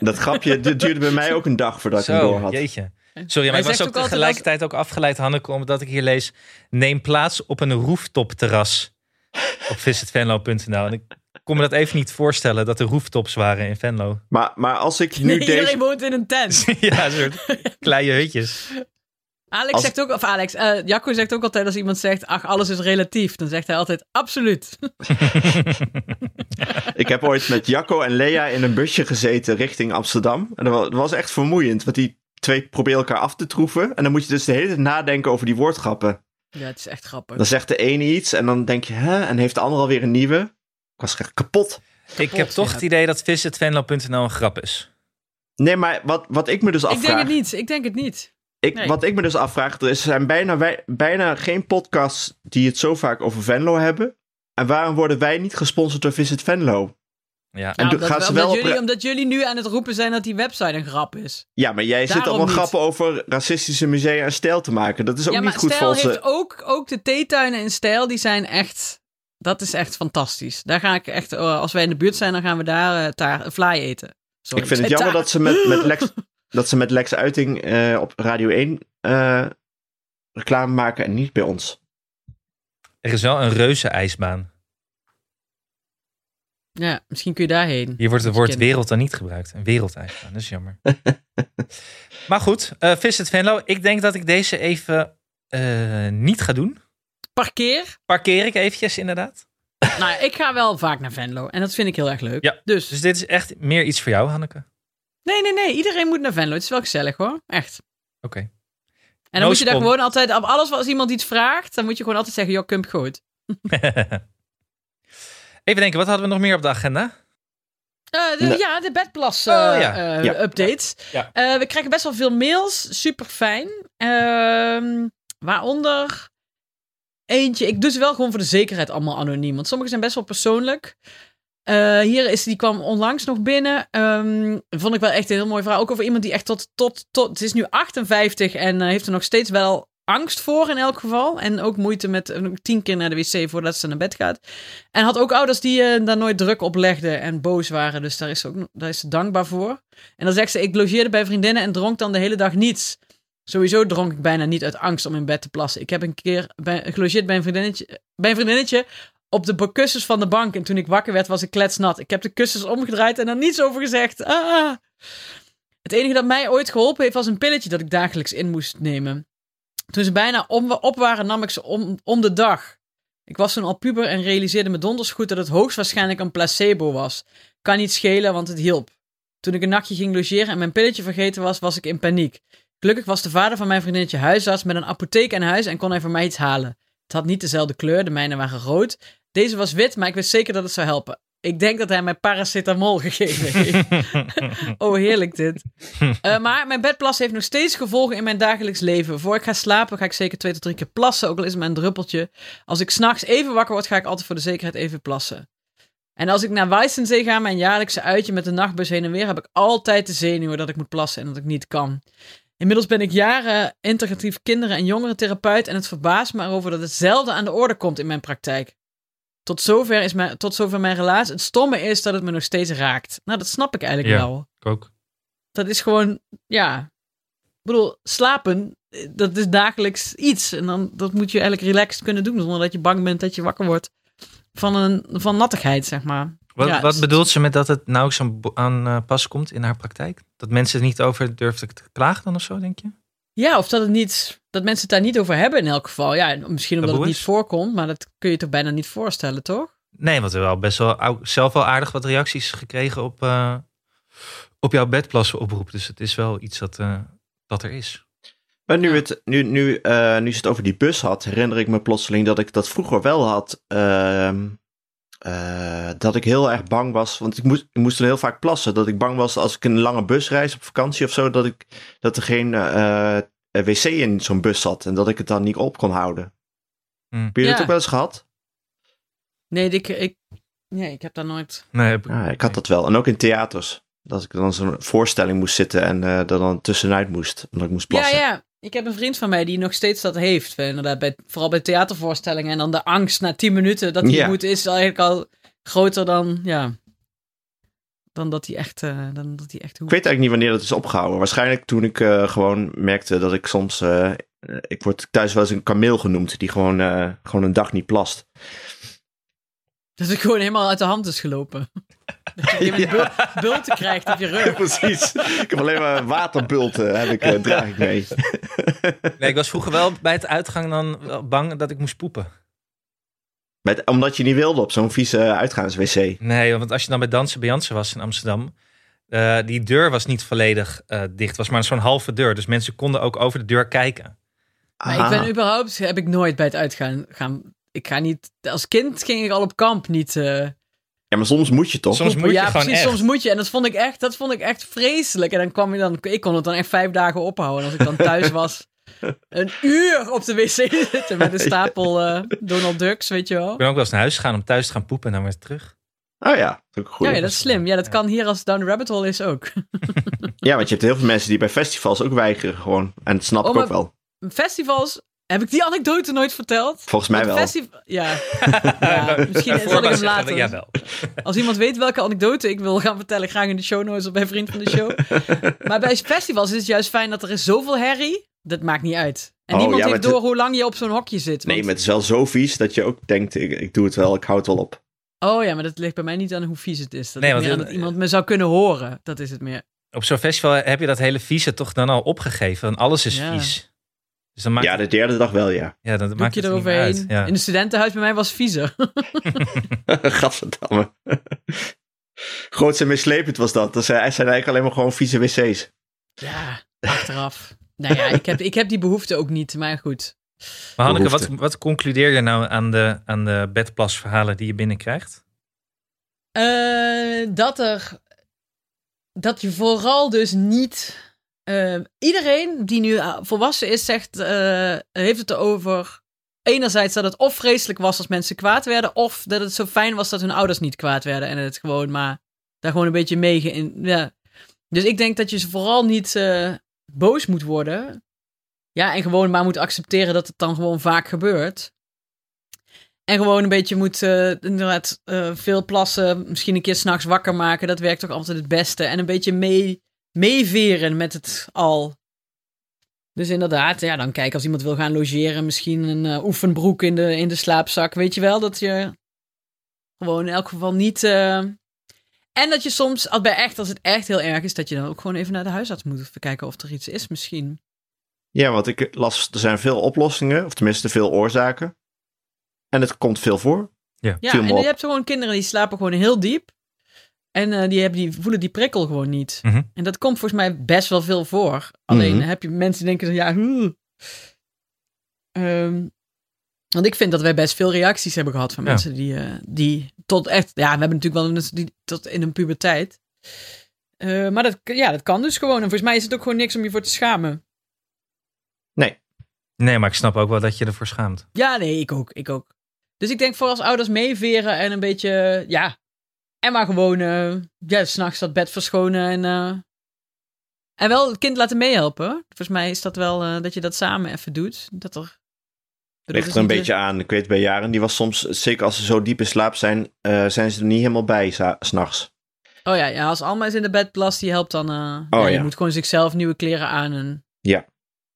dat grapje du- duurde bij mij ook een dag voordat ik hem door
zo,
had.
jeetje. Sorry, maar
Hij
ik was ook
zegt ook altijd
tegelijkertijd ook afgeleid, Hanneke, omdat ik hier lees... Neem plaats op een rooftopterras op visitvenlo.nl. En ik kon me dat even niet voorstellen, dat er rooftops waren in Venlo.
Maar, maar als ik nu
Nee,
deze...
Iedereen woont in een tent.
ja, een soort kleine hutjes.
Alex
Als-
zegt ook, of Alex, eh, Jacco zegt ook altijd als iemand zegt, ach, alles is relatief. Dan zegt hij altijd, absoluut.
Ik heb ooit met Jacco en Lea in een busje gezeten richting Amsterdam. En dat wa- dat was echt vermoeiend, want die twee proberen elkaar af te troeven. En dan moet je dus de hele tijd nadenken over die woordgrappen.
Ja, het is echt grappig.
Dan zegt de ene iets en dan denk je, hè? En heeft de ander alweer een nieuwe? Ik was echt kapot.
Ik heb toch
ja.
het idee dat visitvenlo.nl een grap is.
Nee, maar wat, wat ik me dus
Ik denk
afvraag...
het niet, ik denk het niet.
Ik,
Nee.
Wat ik me dus afvraag, er is- er zijn bijna, wij- bijna geen podcasts die het zo vaak over Venlo hebben. En waarom worden wij niet gesponsord door Visit Venlo?
Ja.
En
Ja,
doe-
Nou, omdat,
gaan
we-
ze
omdat
wel op
jullie,
re-
omdat jullie nu aan het roepen zijn dat die website een grap is.
Ja, maar jij zit
Daarom
allemaal
niet.
grappen over racistische musea en stijl te maken. Dat is ook
ja, maar
niet goed
Stijl
voor
heeft
ze.
ook, ook de theetuinen in Stijl, die zijn echt, dat is echt fantastisch. Daar ga ik echt, eh, als wij in de buurt zijn, dan gaan we daar eh, taar, fly eten. Sorry, Eh,
Ik vind het
zei
jammer
taart.
dat ze met, met, Lex, dat ze met Lex Uiting eh, op Radio 1 eh, reclame maken en niet bij ons.
Er is wel een reuze ijsbaan.
Ja, misschien kun je daarheen.
Hier wordt het woord
Ken ik.
wereld dan niet gebruikt. Een wereldijsbaan, dat is jammer. maar goed, eh Visit Venlo. Ik denk dat ik deze even eh, niet ga doen.
Parkeer.
Parkeer ik eventjes inderdaad.
nou, ja, ik ga wel vaak naar Venlo en dat vind ik heel erg leuk.
Ja.
Dus
Dus dit is echt meer iets voor jou, Hanneke. Oké.
Nee, nee, nee. Iedereen moet naar Venlo. Het is wel gezellig hoor. Echt. En dan
No
moet je daar
spon.
gewoon altijd op alles wat als iemand iets vraagt, dan moet je gewoon altijd zeggen: joh, kump goed.
even denken, wat hadden we nog meer op de agenda?
Eh, de-
Nee.
Ja, de bedplas
Oh,
eh,
ja.
eh,
Ja.
updates.
Ja.
Eh, we krijgen best wel veel mails. Super fijn. Ehm, waaronder eentje. Ik doe ze wel gewoon voor de zekerheid allemaal anoniem. Want sommige zijn best wel persoonlijk. Eh, hier is, die kwam onlangs nog binnen. Ehm, vond ik wel echt een heel mooi verhaal. Ook over iemand die echt tot, tot, tot het is nu 58 en eh, heeft er nog steeds wel angst voor in elk geval. En ook moeite met eh, tien keer naar de wc voordat ze naar bed gaat. En had ook ouders die eh, daar nooit druk op legden en boos waren. Dus daar is ze, ook, daar is ze dankbaar voor. En dan zegt ze, ik logeerde bij vriendinnen en dronk dan de hele dag niets. Sowieso dronk ik bijna niet uit angst om in bed te plassen. Ik heb een keer bij, gelogeerd bij een, vriendinnetje, bij een vriendinnetje op de be- kussens van de bank. En toen ik wakker werd, was ik kletsnat. Ik heb de kussens omgedraaid en er niets over gezegd. Ah. Het enige dat mij ooit geholpen heeft, was een pilletje dat ik dagelijks in moest nemen. Toen ze bijna om, op waren, nam ik ze om, om de dag. Ik was toen al puber en realiseerde me donders goed dat het hoogstwaarschijnlijk een placebo was. Kan niet schelen, want het hielp. Toen ik een nachtje ging logeren en mijn pilletje vergeten was, was ik in paniek. Gelukkig was de vader van mijn vriendinnetje huisarts met een apotheek aan huis en kon hij voor mij iets halen. Het had niet dezelfde kleur, de mijne waren rood. Deze was wit, maar ik wist zeker dat het zou helpen. Ik denk dat hij mij paracetamol gegeven heeft. oh, heerlijk dit. Eh, maar mijn bedplassen heeft nog steeds gevolgen in mijn dagelijks leven. Voor ik ga slapen ga ik zeker twee tot drie keer plassen, ook al is het maar een druppeltje. Als ik s'nachts even wakker word, ga ik altijd voor de zekerheid even plassen. En als ik naar Weissensee ga, mijn jaarlijkse uitje met de nachtbus heen en weer, heb ik altijd de zenuwen dat ik moet plassen en dat ik niet kan. Inmiddels ben ik jaren integratief kinderen- en jongerentherapeut en het verbaast me erover dat het zelden aan de orde komt in mijn praktijk. Tot zover, is mijn, tot zover mijn relaas. Het stomme is dat het me nog steeds raakt. Nou, dat snap ik eigenlijk
Ja.
wel.
Ik ook.
Dat is gewoon, ja. Ik bedoel, slapen, eh, dat is dagelijks iets. En dan, dat moet je eigenlijk relaxed kunnen doen, zonder dat je bang bent dat je wakker wordt van, een, van nattigheid, zeg maar.
Wat,
Ja,
wat
dus-
bedoelt ze met dat het nauwelijks aan, bo- aan eh, pas komt in haar praktijk? Dat mensen het niet over durven te klagen dan of zo, denk je?
Ja, of dat het niet, dat mensen het daar niet over hebben in elk geval. Ja, en misschien omdat het
Taboe
niet
is?
voorkomt, maar dat kun je toch bijna niet voorstellen, toch?
Nee, want we hebben wel best wel ou- zelf wel aardig wat reacties gekregen op, eh, op jouw bedplassen oproep. Dus het is wel iets dat, eh, dat er is.
Maar nu,
Ja.
het, nu, nu, eh, nu ze het over die bus had, herinner ik me plotseling dat ik dat vroeger wel had. ehm, eh, dat ik heel erg bang was, want ik moest, ik moest er heel vaak plassen. Dat ik bang was als ik in een lange busreis op vakantie of zo, dat, ik, dat er geen eh, eh, wc in zo'n bus zat. En dat ik het dan niet op kon houden.
Hm.
Heb je dat
Ja.
ook wel eens gehad?
Nee, ik, ik, nee, ik heb daar nooit...
Nee, heb
Ja, ik had dat wel. En ook in theaters. Dat ik dan zo'n voorstelling moest zitten en eh er dan tussenuit moest. Omdat ik moest plassen.
Ja, ja. Ik heb een vriend van mij die nog steeds dat heeft. eh, Inderdaad, bij, vooral bij theatervoorstellingen. En dan de angst na 10 minuten dat hij
Ja.
moet, is eigenlijk al groter dan, ja, dan dat hij echt, eh, dan dat hij echt
Ik
hoeft.
weet eigenlijk niet wanneer dat is opgehouden. Waarschijnlijk toen ik eh, gewoon merkte dat ik soms. eh, eh, ik word thuis wel eens een kameel genoemd die gewoon, eh, gewoon een dag niet plast.
Dat het gewoon helemaal uit de hand is gelopen. Dat je een bul- bulten krijgt op je rug.
Precies. ik heb alleen maar waterbulten, heb ik, eh, draag ik mee.
Nee, ik was vroeger wel bij het uitgang dan wel bang dat ik moest poepen.
Met, omdat je niet wilde op zo'n vieze uitgaans-wc.
Nee, want als je dan bij Dansen Beyoncé was in Amsterdam. eh, die deur was niet volledig eh, dicht. was maar zo'n halve deur. Dus mensen konden ook over de deur kijken.
Maar
Ah.
ik ben überhaupt, heb ik nooit bij het uitgaan gaan. Ik ga niet, als kind ging ik al op kamp niet. eh,
Ja, maar soms moet je toch?
Soms moet je
ja,
gewoon
precies,
echt.
soms moet je. En dat vond ik echt, dat vond ik echt vreselijk. En dan kwam je dan, ik kon het dan echt vijf dagen ophouden. Als ik dan thuis was, een uur op de wc zitten met een stapel eh, Donald Ducks, weet je wel.
Ik ben ook wel eens naar huis gegaan om thuis te gaan poepen en dan weer terug.
Oh ja, dat is ook goed.
Ja, ja, dat is slim. Ja, dat kan hier als het Down the Rabbit Hole is ook.
Ja, want je hebt heel veel mensen die bij festivals ook weigeren gewoon. En dat snap
Oh,
ik ook
maar-
wel.
Festivals, heb ik die anekdote nooit verteld?
Volgens mij
Want
wel.
festi- ja.
Eh,
ja, misschien zal ik
Voorbaat
hem
zeggen,
later.
Jawel.
Als iemand weet welke anekdote ik wil gaan vertellen, graag in de show notes of bij vriend van de show. maar bij festivals is het juist fijn dat er is zoveel herrie. Dat maakt niet uit. En
Oh,
niemand
ja,
heeft
maar
door hoe lang je op zo'n hokje zit.
Nee, maar
want-
het is wel zo vies dat je ook denkt, ik, ik doe het wel, ik hou het wel op.
Oh ja, maar dat ligt bij mij niet aan hoe vies het is. Dat
Nee,
is
want
meer aan
in-
dat iemand me zou kunnen horen. Dat is het meer.
Op zo'n festival heb je dat hele vieze toch dan al opgegeven. Want alles is
Ja.
vies. Dus dan maakt
Ja, de derde dag wel, ja.
ja, dan maakt
Doekje
het er niet meer uit.
eroverheen.
Ja.
In het studentenhuis bij mij was viezer.
Gadverdamme. Groots en mislepend was dat. Dat zijn, het zijn eigenlijk alleen maar gewoon vieze wc's.
ja, achteraf. nou ja, ik heb, ik heb die behoefte ook niet. Maar goed.
Maar Hanneke, wat,
behoefte.
wat concludeer je nou aan de, aan de bedplasverhalen die je binnenkrijgt?
Eh, dat er. Dat je vooral dus niet. eh, iedereen die nu eh, volwassen is, zegt, eh, heeft het erover. Enerzijds dat het of vreselijk was als mensen kwaad werden, of dat het zo fijn was dat hun ouders niet kwaad werden en het gewoon maar daar gewoon een beetje mee. ge- in- ja. Dus ik denk dat je ze vooral niet eh, boos moet worden. Ja, en gewoon maar moet accepteren dat het dan gewoon vaak gebeurt. En gewoon een beetje moet eh, inderdaad eh, veel plassen, misschien een keer s'nachts wakker maken. Dat werkt toch altijd het beste. En een beetje mee, meeveren met het al. Dus inderdaad, ja, dan kijk als iemand wil gaan logeren, misschien een eh, oefenbroek in de, in de slaapzak. Weet je wel, dat je gewoon in elk geval niet... eh, En dat je soms, als, bij echt, als het echt heel erg is, dat je dan ook gewoon even naar de huisarts moet even kijken of er iets is misschien.
Ja, want ik las, er zijn veel oplossingen, of tenminste veel oorzaken. En het komt veel voor.
Ja,
Viel
en
me
je
op.
hebt gewoon kinderen die slapen gewoon heel diep. En eh, die, hebben, die voelen die prikkel gewoon niet.
Mhm.
En dat komt volgens mij best wel veel voor. Alleen
Mhm.
heb je mensen die denken, ja, huh. Ehm, want ik vind dat wij best veel reacties hebben gehad van
Ja.
mensen die, eh, die tot echt, ja, we hebben natuurlijk wel mensen die tot in hun puberteit. Eh, maar dat, ja, dat kan dus gewoon. En volgens mij is het ook gewoon niks om je voor te schamen.
Nee, maar ik snap ook wel dat je ervoor schaamt.
Ja, nee, ik ook. Ik ook. Dus ik denk voor als ouders meeveren en een beetje, ja. En maar gewoon, eh, ja, s'nachts dat bed verschonen en. eh, en wel het kind laten meehelpen. hoor. Volgens mij is dat wel eh, dat je dat samen even doet. Dat er. dat
Ligt
is
er een
niet-
beetje aan. Ik weet bij Jaren, die was soms, zeker als ze zo diep in slaap zijn, eh, zijn ze er niet helemaal bij sa- s'nachts.
Oh ja, ja, als Alma is in de bed plast, die helpt dan. eh,
Oh
ja, Je
ja.
moet gewoon zichzelf nieuwe kleren aan. En,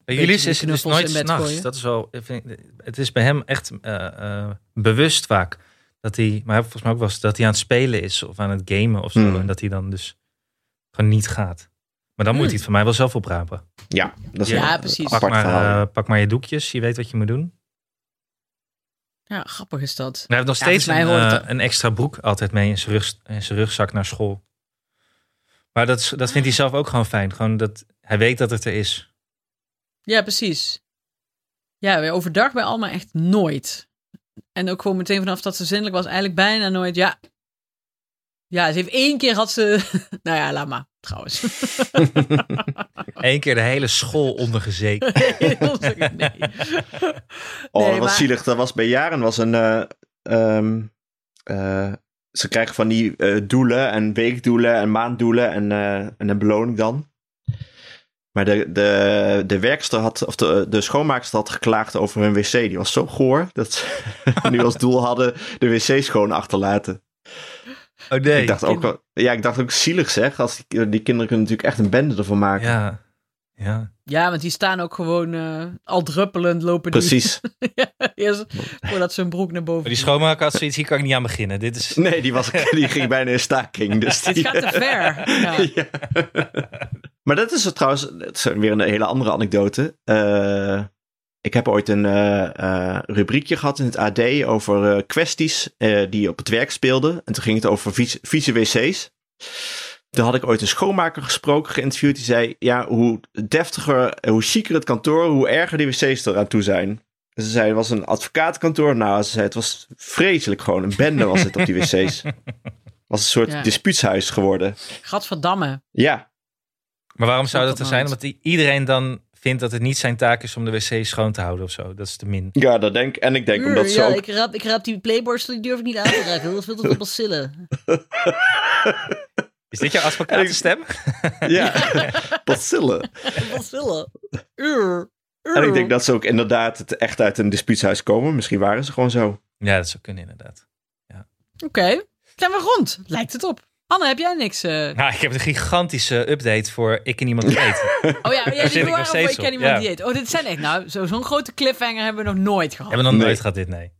Bij
Beetje
Julius
die
is het dus
knuffels
nooit
in bed
s'nachts.
gooien.
Dat is wel, ik vind- het is bij hem echt eh, eh, bewust vaak. Dat hij, maar hij volgens mij ook was dat hij aan het spelen is of aan het gamen of zo.
Hmm.
En dat hij dan dus gewoon niet gaat. Maar dan moet
Hmm.
hij het van mij wel zelf oprapen.
Ja, dat is
Ja,
een
precies.
Pak
apart
maar,
verhaal.
eh, pak maar je doekjes, je weet wat je moet doen.
ja, grappig is dat.
En hij heeft nog
Ja,
steeds een,
volgens mij hoort
eh,
het
een extra broek altijd mee in zijn, rug, in zijn rugzak naar school. Maar dat, is- dat vindt hij zelf ook gewoon fijn. Gewoon dat hij weet dat het er is.
Ja, precies. Ja, wij overdag bij Alma echt nooit. En ook gewoon meteen vanaf dat ze zinnelijk was, eigenlijk bijna nooit. Ja, ja ze heeft één keer had ze... nou ja, laat maar, trouwens.
Eén keer de hele school ondergezeken.
nee.
Oh,
Nee,
dat was
maar-
zielig. Dat was bij jaren was een. eh, ehm, eh, ze krijgen van die eh, doelen en weekdoelen en maanddoelen en, eh, en een beloning dan. Maar de, de, de werkster had, of de, de schoonmaakster had geklaagd over hun wc. Die was zo goor dat ze nu als doel hadden de wc schoon achterlaten.
Oh nee.
ik dacht ook, wel- ja, ik dacht ook zielig zeg. Als die, die kinderen kunnen natuurlijk echt een bende ervan maken.
Ja. ja.
ja, want die staan ook gewoon eh, al druppelend lopen. die-
Precies.
Eerst voordat ze hun broek naar boven...
Maar die schoonmaker had zoiets, hier kan ik niet aan beginnen. Dit is,
Nee, die, was, die ging bijna in staking. Dus
Dit
die-
gaat te ver. Ja.
Ja. maar dat is het trouwens, het is weer een hele andere anekdote. Eh, ik heb ooit een eh, eh, rubriekje gehad in het AD over eh, kwesties eh, die op het werk speelden. En toen ging het over vieze, vieze wc's. Toen had ik ooit een schoonmaker gesproken, geïnterviewd. Die zei, ja, hoe deftiger, eh, hoe chiquer het kantoor, hoe erger die wc's eraan toe zijn. En Ze zei, het was een advocatenkantoor. Nou, ze zei, het was vreselijk gewoon. Een bende was het op die wc's. Het was een soort
Ja.
dispuutshuis geworden.
Gadverdamme.
Ja,
Maar waarom zou
Snap
dat er
dat
zijn?
nooit.
Omdat i- iedereen dan vindt dat het niet zijn taak is om de wc schoon te houden of zo. Dat is te min.
Ja, dat denk ik. En ik denk omdat
Uur,
ze
ja,
ook...
ik, raap, ik raap die playborstel, die durf ik niet aan te raken. Dat is veel te veel bacillen.
Is dit jouw advocatenstem?
Ja, bacillen.
Bacillen. Uur.
En ik denk dat ze ook inderdaad het echt uit een dispuutshuis komen. Misschien waren ze gewoon zo.
Ja, dat zou kunnen inderdaad.
Oké, zijn we rond? Lijkt het op. Anne, heb jij niks? eh?
Nou, ik heb een gigantische update voor ik en iemand die weet.
Oh ja, jij
zit ik
die
nog
waren over
steeds
ik ken
op,
iemand
ja.
die eet. Oh, dit zijn echt, nou, zo- zo'n grote cliffhanger hebben we nog nooit gehad.
Hebben we nog
Nee.
nooit gehad dit? Nee.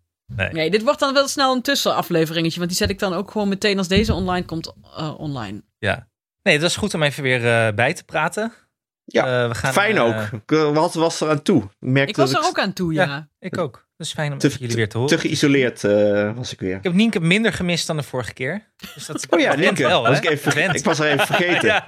Nee, dit wordt dan wel snel een tussenafleveringetje, want die zet ik dan ook gewoon meteen als deze online komt eh, online.
Ja. Nee, het was goed om even weer eh, bij te praten.
Ja,
Eh, we gaan,
Fijn
eh,
ook. Ik- Wat was er aan toe? Ik merkte
Ik was
dat
er ook aan toe, ja.
ik ook. Het is fijn om
Te-
even jullie weer te horen.
te geïsoleerd eh, was ik weer.
Ik heb Nienke minder gemist dan de vorige keer. Dus dat
Oh ja,
dat went
Nienke.
wel,
was
hè?
ik, even verge-
Went.
ik was er even vergeten.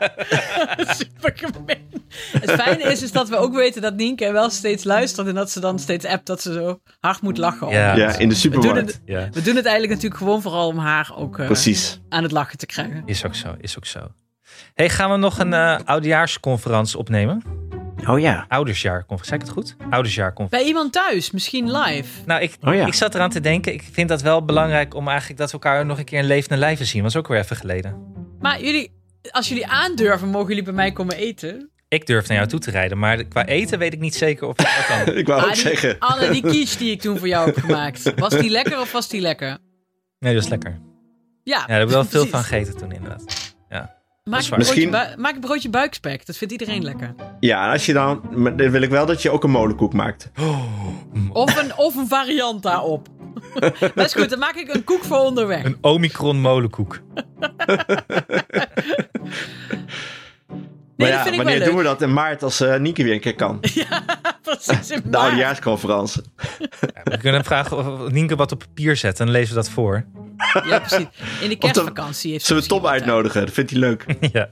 Super gemeen. Het fijne is, is dat we ook weten dat Nienke wel steeds luistert en dat ze dan steeds appt dat ze zo hard moet lachen. om-
Ja.
Ja, in de
We doen
supermarkt.
het-
Ja,
We doen het eigenlijk natuurlijk gewoon vooral om haar ook eh,
Precies.
aan het lachen te krijgen.
is ook zo, is ook zo. Hey, gaan we nog een eh oudejaarsconferentie opnemen?
Oh ja.
Oudersjaarconferentie, zei ik het goed? Oudersjaarconferentie.
Bij iemand thuis, misschien live.
Nou, ik,
Oh ja.
ik zat eraan te denken. Ik vind dat wel belangrijk om eigenlijk dat we elkaar nog een keer een levende lijven zien. Dat is ook weer even geleden.
Maar jullie, als jullie aandurven, mogen jullie bij mij komen eten.
ik durf naar jou toe te rijden. Maar qua eten weet ik niet zeker of ik dat dan...
Ik wou
Ah,
ook
die-
zeggen.
Anne, die quiche die ik toen voor jou heb gemaakt. Was die lekker of was die lekker?
Nee, dat is lekker.
Ja,
Ja, daar heb ik wel veel
precies.
van gegeten toen inderdaad. Ja.
Maak
is
een,
waar.
broodje,
Misschien-
bui- maak een broodje buikspek. Dat vindt iedereen lekker.
Ja, en als je dan... maar Dan wil ik wel dat je ook een molenkoek maakt.
Mm.
Of een, of een variant daarop. dat is goed, dan maak ik een koek voor onderweg.
Een Omicron molenkoek.
Nee,
maar ja,
dat vind ik wel
wanneer doen we
leuk.
dat? In maart als eh Nienke weer een keer kan.
Precies, in
De
maart.
oudejaarsconferentie.
We kunnen vragen of- of Nienke wat op papier zet en dan lezen we dat voor.
Ja, precies. In de kerstvakantie heeft ze
Zullen we Tom
misschien wat
uitnodigen? Dat vindt hij leuk.
ja.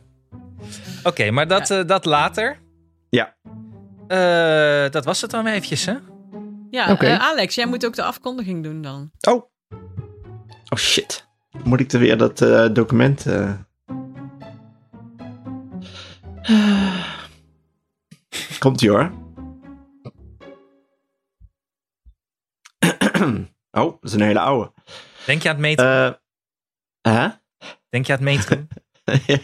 Oké, maar dat, eh, dat later.
Ja.
Eh, dat was het dan weer eventjes, hè?
tijd. Ja,
Oké.
eh, Alex, jij moet ook de afkondiging doen dan.
Oh. Oh shit. Moet ik er weer dat eh, document. eh? Komt ie hoor. Oh, dat is een hele oude.
Denk je aan het meten?
Eh hè?
Denk je aan het meten?
Ja.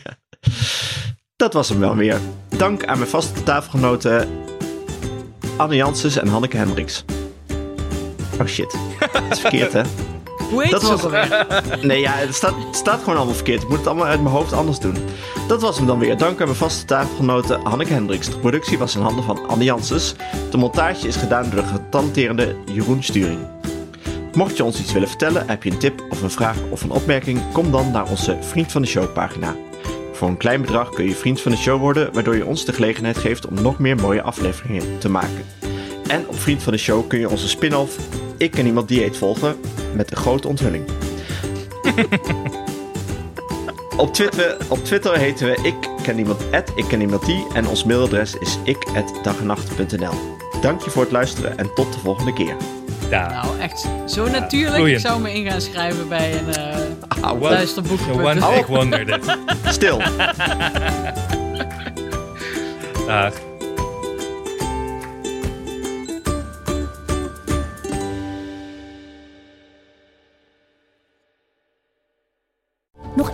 Dat was hem wel weer. Dank aan mijn vaste tafelgenoten Anne Janssens en Hanneke Hendricks. Oh shit. Dat is verkeerd hè?
Hoe heet
Dat
ze
was-
ook alweer?
Nee, ja, het staat, het staat gewoon allemaal verkeerd. Ik moet het allemaal uit mijn hoofd anders doen. Dat was hem dan weer. Dank aan mijn vaste tafelgenote Hanneke Hendricks. De productie was in handen van Anne Janssens. De montage is gedaan door de getalenteerde Jeroen Sturing. Mocht je ons iets willen vertellen, heb je een tip of een vraag of een opmerking, kom dan naar onze Vriend van de Show pagina. Voor een klein bedrag kun je Vriend van de Show worden, waardoor je ons de gelegenheid geeft om nog meer mooie afleveringen te maken. En op Vriend van de Show kun je onze spin-off Ik Ken Iemand Dieet volgen met een grote onthulling. Op Twitter, op Twitter heten we ik ken iemand at ik ken iemand die en ons mailadres is ik Dank je voor het luisteren en tot de volgende keer.
Daar.
Nou, echt zo natuurlijk.
Vloeiend.
Ik zou me in gaan schrijven bij een eh
Ah,
What?
luisterboek.
One take wonder dit.
Stil.
Dag.
Nog